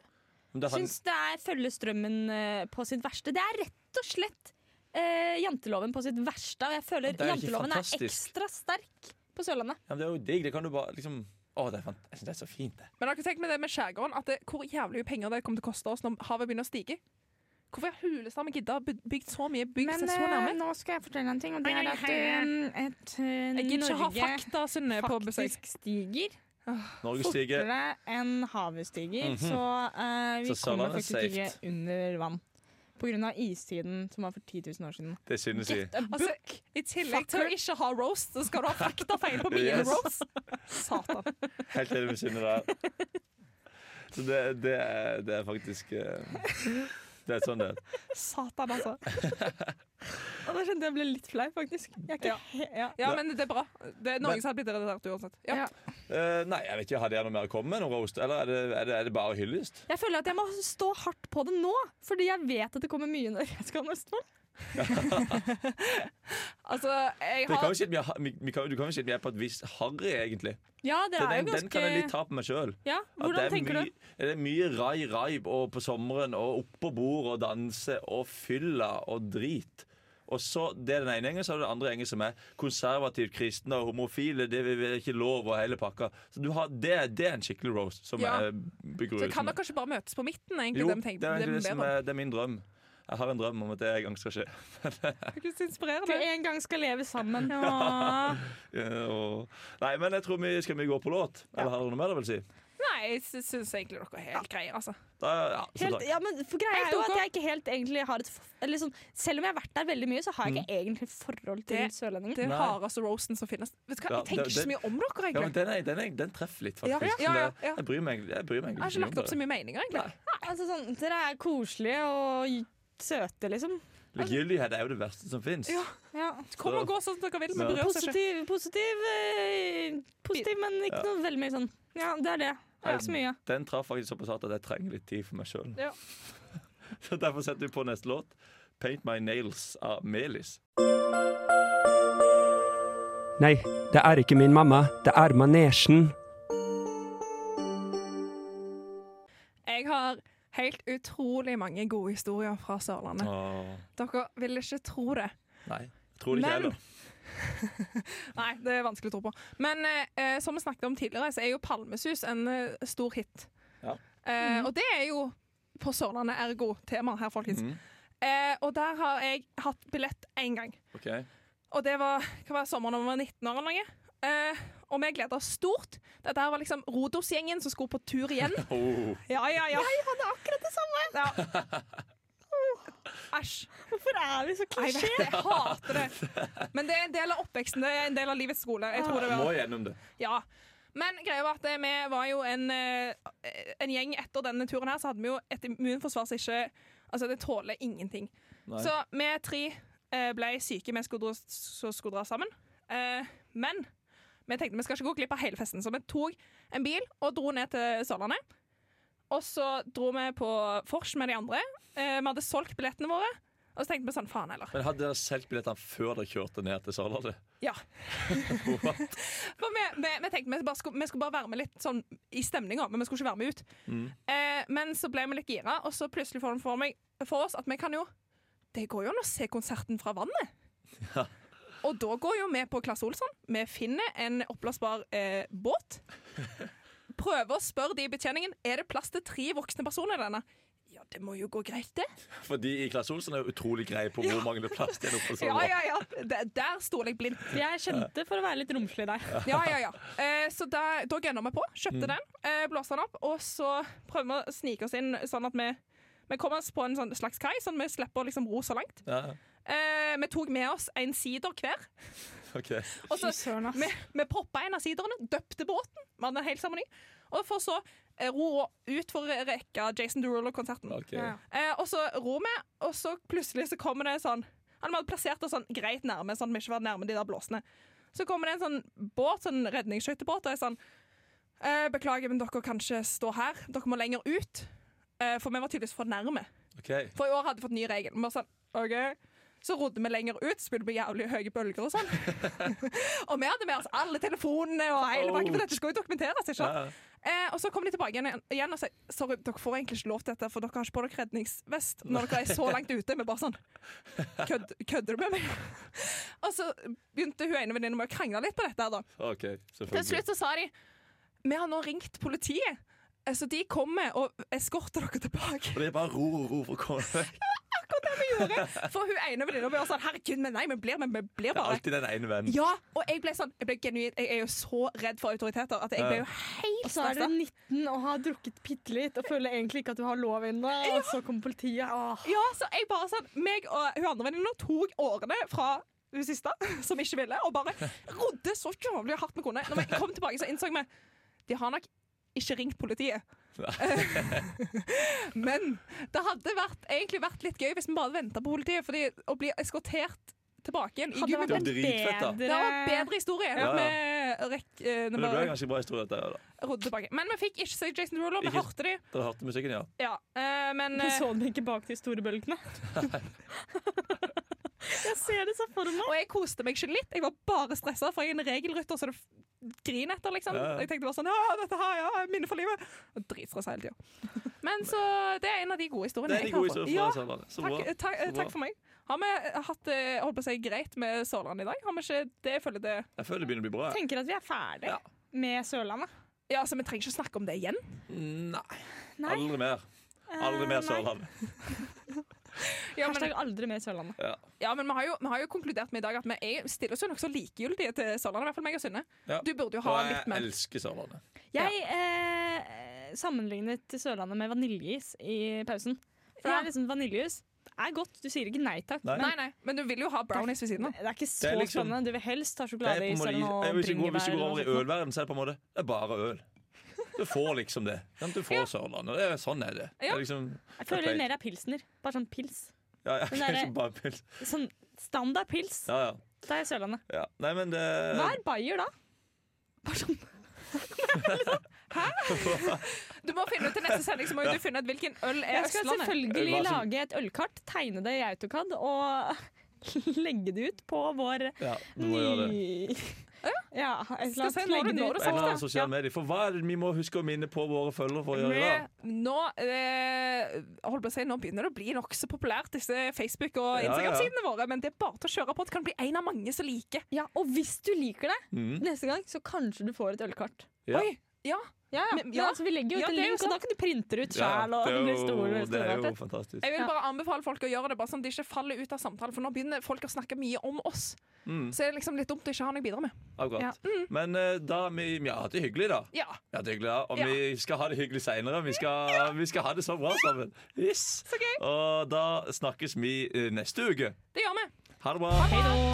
Speaker 3: Men det er han-
Speaker 5: Syns det er følge strømmen eh, på sitt verste. Det er rett og slett eh, janteloven på sitt verste. Og jeg føler
Speaker 3: Det er jo ikke
Speaker 5: janteloven er
Speaker 3: fantastisk.
Speaker 5: ekstra sterk på Sørlandet.
Speaker 3: Ja, men det er jo digg. Det kan du bare liksom Å, det er fant jeg syns det er så fint, det.
Speaker 4: Men har dere tenkt med det med skjærgården at det, hvor jævlig mye penger det kommer til å koste oss når havet begynner å stige? Hvorfor har Hulestad med gidda å by- bygd så mye bygg seg
Speaker 5: eh,
Speaker 4: så nærme?
Speaker 5: nå skal jeg fortelle en ting, og det er at eh,
Speaker 4: Jeg gidder ikke å ha fakta, Synne, på besøk.
Speaker 5: faktisk stiger
Speaker 3: Norge stiger.
Speaker 5: fortere enn havet stiger.
Speaker 3: Mhm.
Speaker 5: Så eh, vi
Speaker 3: Så
Speaker 5: kommer
Speaker 3: Sørlandet er
Speaker 5: faktisk ikke under vann. På grunn av istiden som var for 10 000 år siden.
Speaker 3: Det synes vi.
Speaker 4: Altså, I tillegg til å ikke ha roast, så skal du ha faktafeil på mine
Speaker 3: Yes.
Speaker 4: roast! Satan.
Speaker 3: Helt enig med Synne der. Så det, det, er, det er faktisk eh, Det er sånn det er.
Speaker 4: Satan, altså.
Speaker 5: Og da skjønte jeg ble litt flau, faktisk. Jeg er ikke, he- ja.
Speaker 4: Ja, men det er bra. Det er
Speaker 3: Men-
Speaker 4: noen som hadde blitt irritert uansett. Ja.
Speaker 5: Ja.
Speaker 3: Eh, nei, jeg vet ikke, hadde jeg noe mer å komme med? Noe roast? Eller er det, er det, er det bare hyllest?
Speaker 5: Jeg føler at jeg må stå hardt på det nå, fordi jeg vet at det kommer mye når jeg skal om Østfold.
Speaker 4: Altså, jeg
Speaker 3: Vi kan
Speaker 4: har
Speaker 3: jo si at vi er, ha- vi, vi kan, du kan jo si at vi er på et visst harry, egentlig.
Speaker 5: Ja, dere
Speaker 3: Den,
Speaker 5: er jo
Speaker 3: den, den kan jeg litt
Speaker 5: ganske
Speaker 3: ta på meg sjøl.
Speaker 5: ja, Hvordan tenker du?
Speaker 3: Det er mye rai, rai og på sommeren og oppå bord og danse og fylla og drit. Og så, Det er den ene gjengen, så er det den andre gjengen som er konservativt kristne og homofile. Det vil- vil ikke lov og hele pakka. Så du har, det, er- det er en skikkelig roast som
Speaker 4: Ja.
Speaker 3: er
Speaker 4: så kan
Speaker 3: begrunnelsen.
Speaker 4: dere ikke bare møtes på midten? egentlig,
Speaker 3: Jo,
Speaker 4: de
Speaker 3: det
Speaker 4: tenker-
Speaker 3: er, egentlig det,
Speaker 4: det er
Speaker 3: som
Speaker 4: bedre.
Speaker 3: er, det er min drøm. Jeg har en drøm om at det en gang skal skje.
Speaker 4: Jeg synes det er
Speaker 5: Du
Speaker 4: inspirerende.
Speaker 5: en gang skal leve sammen.
Speaker 3: Eh, og, nei, men jeg tror vi skal vi gå på låt. Eller har dere noe mer dere vil si?
Speaker 4: Nei, jeg sy- syns egentlig dere er helt greie, altså.
Speaker 3: Da, ja, så
Speaker 5: Helt,
Speaker 3: takk.
Speaker 5: ja, men for greia
Speaker 4: Helt
Speaker 5: er jo at
Speaker 4: ok.
Speaker 5: jeg ikke helt egentlig har et f- eller sånn, Selv om jeg har vært der veldig mye, så har jeg
Speaker 3: Mhm.
Speaker 5: ikke egentlig et forhold til
Speaker 4: Det-
Speaker 5: sørlendinger.
Speaker 4: Det er
Speaker 3: Nei.
Speaker 4: hardeste roasten som finnes. Vet du hva,
Speaker 3: Ja,
Speaker 4: Jeg tenker
Speaker 3: det-
Speaker 4: ikke så mye om dere,
Speaker 3: Ja, men
Speaker 4: egentlig.
Speaker 3: den, er, den, er, den treffer litt,
Speaker 4: Ja,
Speaker 3: faktisk.
Speaker 4: ja, ja,
Speaker 3: Men det-
Speaker 4: ja.
Speaker 3: Jeg bryr meg, jeg bryr meg
Speaker 4: Jeg
Speaker 3: egentlig
Speaker 4: har ikke
Speaker 3: mye om
Speaker 4: lagt opp
Speaker 3: det.
Speaker 4: så mye meninger, egentlig.
Speaker 5: Altså sånn, Dere er koselige og gy- søte, liksom.
Speaker 3: Likegyldighet er jo det verste som fins.
Speaker 4: Altså- Ja.
Speaker 5: Ja.
Speaker 4: Kom og gå sånn som dere vil, men
Speaker 3: Ja.
Speaker 4: berør seg
Speaker 5: Positiv,
Speaker 4: ikke.
Speaker 5: positiv, eh, positiv men ikke noe veldig mye sånn. Ja, det er det. Det er ikke så mye.
Speaker 3: Den traff faktisk såpass hardt at jeg trenger litt tid for meg sjøl.
Speaker 4: Ja.
Speaker 3: så derfor setter vi på neste låt. 'Paint My Nails' av Melis.
Speaker 8: Nei, det er ikke min mamma. Det er manesjen.
Speaker 4: Jeg har helt utrolig mange gode historier fra Sørlandet.
Speaker 3: Åh,
Speaker 4: Dere vil ikke tro det.
Speaker 3: nei, jeg tror det ikke
Speaker 4: Men-
Speaker 3: heller.
Speaker 4: Nei, det er vanskelig å tro på. Men eh, som vi snakket om tidligere, så er jo Palmesus en eh, stor hit.
Speaker 3: Ja.
Speaker 4: Eh, Og det er jo på Sørlandet ergo tema her, folkens.
Speaker 3: Mhm.
Speaker 4: Eh, og der har jeg hatt billett én gang.
Speaker 3: Ok.
Speaker 4: Og det var, hva var det, sommeren da vi var 19 år eller noe. Eh, og vi gleda oss stort. Dette her var liksom Rodos-gjengen som skulle på tur igjen.
Speaker 3: Oh,
Speaker 4: Ja, ja, ja.
Speaker 5: Vi hadde akkurat det samme!
Speaker 4: ja. Æsj.
Speaker 5: Hvorfor er vi så
Speaker 4: Jeg vet det, jeg hater det. Men det er en del av oppveksten, det er en del av livets skole. Jeg tror det
Speaker 3: jeg Oh, må
Speaker 4: var.
Speaker 3: gjennom det.
Speaker 4: Ja. Men greia var at eh, vi var jo en, eh, en gjeng etter denne turen her, så hadde vi jo et immunforsvar som ikke Altså, det tåler ingenting.
Speaker 3: Nei.
Speaker 4: Så vi tre eh, ble syke, vi skulle dra, så skulle dra sammen. Eh, men vi tenkte vi skal ikke gå glipp av hele festen, så vi tok en bil og dro ned til Sørlandet. Og så dro vi på Fors med de andre. Eh, vi hadde solgt billettene våre. Og så tenkte vi sånn, faen heller.
Speaker 3: Men hadde dere solgt billettene før dere kjørte ned til Sørlandet?
Speaker 4: Ja.
Speaker 3: What?
Speaker 4: For vi, vi, vi tenkte vi, bare skulle, vi skulle bare være med litt sånn i stemninga, men vi skulle ikke være med ut. Eh, men så ble vi litt gira, og så plutselig får de for, meg, for oss at vi kan jo Det går jo an å se konserten fra vannet. Og da går jo vi på Klasse Olsson. Vi finner en oppblåsbar eh, båt. Prøver å spørre de i betjeningen Er det plass til tre voksne personer i denne. Ja, ja, det må jo gå greit, det.
Speaker 3: Fordi i Klasse Olsen er jo utrolig grei på hvor mange plass det er nå på
Speaker 4: Ja,
Speaker 3: Sørlandet.
Speaker 4: ja, ja. Der, der stoler jeg blindt.
Speaker 5: Jeg kjente for å være litt romslig der.
Speaker 4: Ja, ja, ja. Eh, så da, da gønna vi på. Kjøpte den, eh, blåste den opp, og så prøver vi å snike oss inn sånn at vi, vi kommer oss på en sånn slags kai, sånn at vi slipper å liksom ro så langt.
Speaker 3: Ja,
Speaker 4: Eh, vi tok med oss en sider hver.
Speaker 3: ok.
Speaker 4: Og så vi, vi poppa en av siderne, døpte båten. Vi hadde en hel seremoni. Og for så eh, ro ut for å rekke Jason Derulo-konserten.
Speaker 3: ok.
Speaker 5: Ja.
Speaker 4: Eh, og så ror vi, og så plutselig så kommer det sånn Han hadde plassert oss sånn greit nærme, sånn at vi ikke var nærme de der blåsene. Så kommer det en sånn båt, sånn redningsskøytebåt, og er sånn eh, Beklager, men dere kan ikke stå her. Dere må lenger ut. Eh, for vi var tydeligvis for nærme.
Speaker 3: ok
Speaker 4: For i år hadde vi fått ny regel. Vi var sånn, ok så rodde vi lenger ut, spilte på jævlig høye bølger og sånn. og vi hadde med oss alle telefonene og hele bakken, for dette skulle jo dokumenteres. ikke sant?
Speaker 3: Ja,
Speaker 4: Eh, og så kommer de tilbake igjen, igjen og sier Sorry, dere får egentlig ikke lov til dette, for dere har ikke på dere redningsvest når dere er så langt ute. Vi bare sånn Kødd, Kødder du med meg? og så begynte hun ene venninna med å krangle litt på dette. her da.
Speaker 3: ok,
Speaker 4: Til
Speaker 3: selvfølgelig.
Speaker 4: slutt så sa de Vi har nå ringt politiet, eh, så de kommer og eskorter dere tilbake.
Speaker 3: Og det er bare ro og ro for å komme vekk.
Speaker 4: For hun ene venninna var sånn Herregud, men nei, vi blir, men vi
Speaker 3: Det
Speaker 4: blir
Speaker 3: er
Speaker 4: bare
Speaker 3: alltid den ene vennen.
Speaker 4: Ja! Og jeg ble sånn Jeg ble genuint Jeg er jo så redd for autoriteter at jeg ble jo helt
Speaker 5: Og så er
Speaker 4: stressa.
Speaker 5: du 19 og har drukket bitte litt og føler egentlig ikke at du har lov ennå, og så kommer politiet. Åh.
Speaker 4: Ja, så jeg bare sånn Meg og hun andre venninna tok årene fra hun siste, som ikke ville, og bare rodde så jævlig hardt vi kunne. Når vi kom tilbake, så innså vi de har nok ikke ringt politiet. Men det hadde vært, egentlig vært litt gøy hvis vi bare venta på politiet, fordi å bli eskortert tilbake igjen i
Speaker 5: Hadde
Speaker 4: Gud,
Speaker 5: vært en
Speaker 3: Det var dritfett, da.
Speaker 5: bedre
Speaker 4: det var en bedre historie.
Speaker 3: Ja, ja.
Speaker 4: Med rekk, eh,
Speaker 3: Men
Speaker 4: når
Speaker 3: det ble en
Speaker 4: vi
Speaker 3: ganske bra historie, dette her. da.
Speaker 4: rodde tilbake. Men vi fikk ikke se Jason Derulo. Vi
Speaker 3: Ikke-
Speaker 4: hørte de.
Speaker 3: Dere hørte musikken, ja?
Speaker 4: Ja, eh, men
Speaker 5: Du
Speaker 4: eh,
Speaker 5: så den ikke bak de store bølgene? Jeg ser det så for meg.
Speaker 4: Og jeg koste meg ikke litt. Jeg var bare stressa, for jeg er en regelrytter, så det f- griner etter, liksom.
Speaker 3: Ja, ja.
Speaker 4: Jeg tenkte bare sånn Ja, dette her, ja, minne for livet. Og Dritstressa hele tida. Men så Det er en av de gode historiene
Speaker 3: Det er de
Speaker 4: jeg har
Speaker 3: gode
Speaker 4: fått.
Speaker 3: historiene fra Sørlandet. Så
Speaker 4: takk,
Speaker 3: bra.
Speaker 4: eh, takk, eh,
Speaker 3: Så bra.
Speaker 4: takk for meg. Har vi eh, hatt det holdt på å si, greit med Sørlandet i dag? Har vi ikke det? Jeg føler det
Speaker 3: Jeg føler det begynner å bli bra. jeg.
Speaker 5: Tenker at vi er ferdig
Speaker 3: Ja.
Speaker 5: med Sørlandet.
Speaker 4: Ja, altså, Vi trenger ikke snakke om det igjen.
Speaker 3: Nei.
Speaker 5: Nei.
Speaker 3: Aldri mer. Aldri
Speaker 4: Eh,
Speaker 3: mer Sørlandet.
Speaker 4: Ja, men,
Speaker 5: Hashtag aldri mer Sørlandet.
Speaker 3: Ja.
Speaker 4: ja, men vi, har jo, vi har jo konkludert med i dag at vi er, stiller oss jo nokså likegyldige til Sørlandet. I hvert fall meg og Synne.
Speaker 3: Ja.
Speaker 4: Du burde jo ha
Speaker 3: Og
Speaker 4: litt
Speaker 3: jeg
Speaker 4: mer.
Speaker 3: elsker Sørlandet.
Speaker 5: Jeg eh, sammenlignet Sørlandet med vaniljeis i pausen. For det
Speaker 4: Ja.
Speaker 5: er liksom vaniljeis. Det er godt, du sier ikke nei takk.
Speaker 3: Nei.
Speaker 5: men
Speaker 4: Nei, nei, men du vil jo ha brownies ved siden av.
Speaker 5: Det er ikke så
Speaker 3: Det er liksom-
Speaker 5: spennende. Du vil helst ha
Speaker 3: Det er på en
Speaker 5: sjokoladeis
Speaker 3: måte,
Speaker 5: eller noe
Speaker 3: jeg, hvis, du går, hvis du går over i
Speaker 5: bringebær.
Speaker 3: ølverden, så er det på en måte Det er bare øl. Du får liksom det. Sant? Du får Sørlandet. Det er, sånn er det. det
Speaker 4: Ja.
Speaker 3: er liksom,
Speaker 5: Jeg føler det mer er pilsner. Bare sånn pils.
Speaker 3: ja, ja,
Speaker 5: Men det er-
Speaker 3: liksom bare pils.
Speaker 5: Sånn standard pils.
Speaker 3: Ja, Eh, ja.
Speaker 5: Det er Sørlandet.
Speaker 3: ja. Nei, men det
Speaker 5: Hva er Bayer da?
Speaker 4: Du må finne ut til neste sending så må jo du finne ut hvilken øl er
Speaker 5: Jeg skal
Speaker 4: Østlandet.
Speaker 5: selvfølgelig
Speaker 3: Hva som-
Speaker 5: lage et ølkart, tegne det i AutoCAD og legge det ut på vår
Speaker 3: ja, Du må gjøre det.
Speaker 5: ny... Ja, et
Speaker 4: Skal
Speaker 5: eller
Speaker 4: se,
Speaker 5: annet.
Speaker 4: nå har du-
Speaker 5: Legge det
Speaker 4: nå har
Speaker 5: ut.
Speaker 4: du
Speaker 3: En eller
Speaker 4: sagt
Speaker 3: annen sosiale medier. For hva er det vi må huske å minne på våre følgere for å gjøre i dag?
Speaker 4: Vi- Nå, eh, holdt på å si, nå begynner det å bli nokså populært, disse Facebook- og
Speaker 3: Ja, ja.
Speaker 4: Instagram-sidene våre. Men det er bare til å kjøre på. Det kan bli en av mange som liker.
Speaker 5: Ja, og hvis du liker det
Speaker 3: Mm.
Speaker 5: neste gang, så kanskje du får et ølkart.
Speaker 3: Ja.
Speaker 4: Oi, ja.
Speaker 5: Ja, ja.
Speaker 4: Men-
Speaker 5: Men,
Speaker 4: ja.
Speaker 5: altså, vi legger jo ut
Speaker 4: Ja,
Speaker 5: en
Speaker 4: det er jo
Speaker 5: link, og da
Speaker 4: sant.
Speaker 5: kan du printe det ut sjøl.
Speaker 3: det er
Speaker 5: og det blir
Speaker 3: jo-
Speaker 5: stor,
Speaker 3: det er jo
Speaker 5: storartet.
Speaker 3: fantastisk.
Speaker 4: Jeg vil bare anbefale folk å gjøre det, bare sånn at de ikke faller ut av samtalen. For nå begynner folk å snakke mye om oss.
Speaker 3: Mm.
Speaker 4: Så er det liksom litt dumt å ikke ha noe å bidra med.
Speaker 3: Akkurat. Men eh, da vi, vi har hatt det hyggelig, da.
Speaker 4: Ja.
Speaker 3: Vi har hatt det hyggelig, da. Og
Speaker 4: Ja.
Speaker 3: vi skal ha det hyggelig seinere. Vi, skal- vi skal ha det så bra sammen. Yes. Og da snakkes vi eh, neste uke.
Speaker 4: Det gjør vi.
Speaker 3: Ha det bra.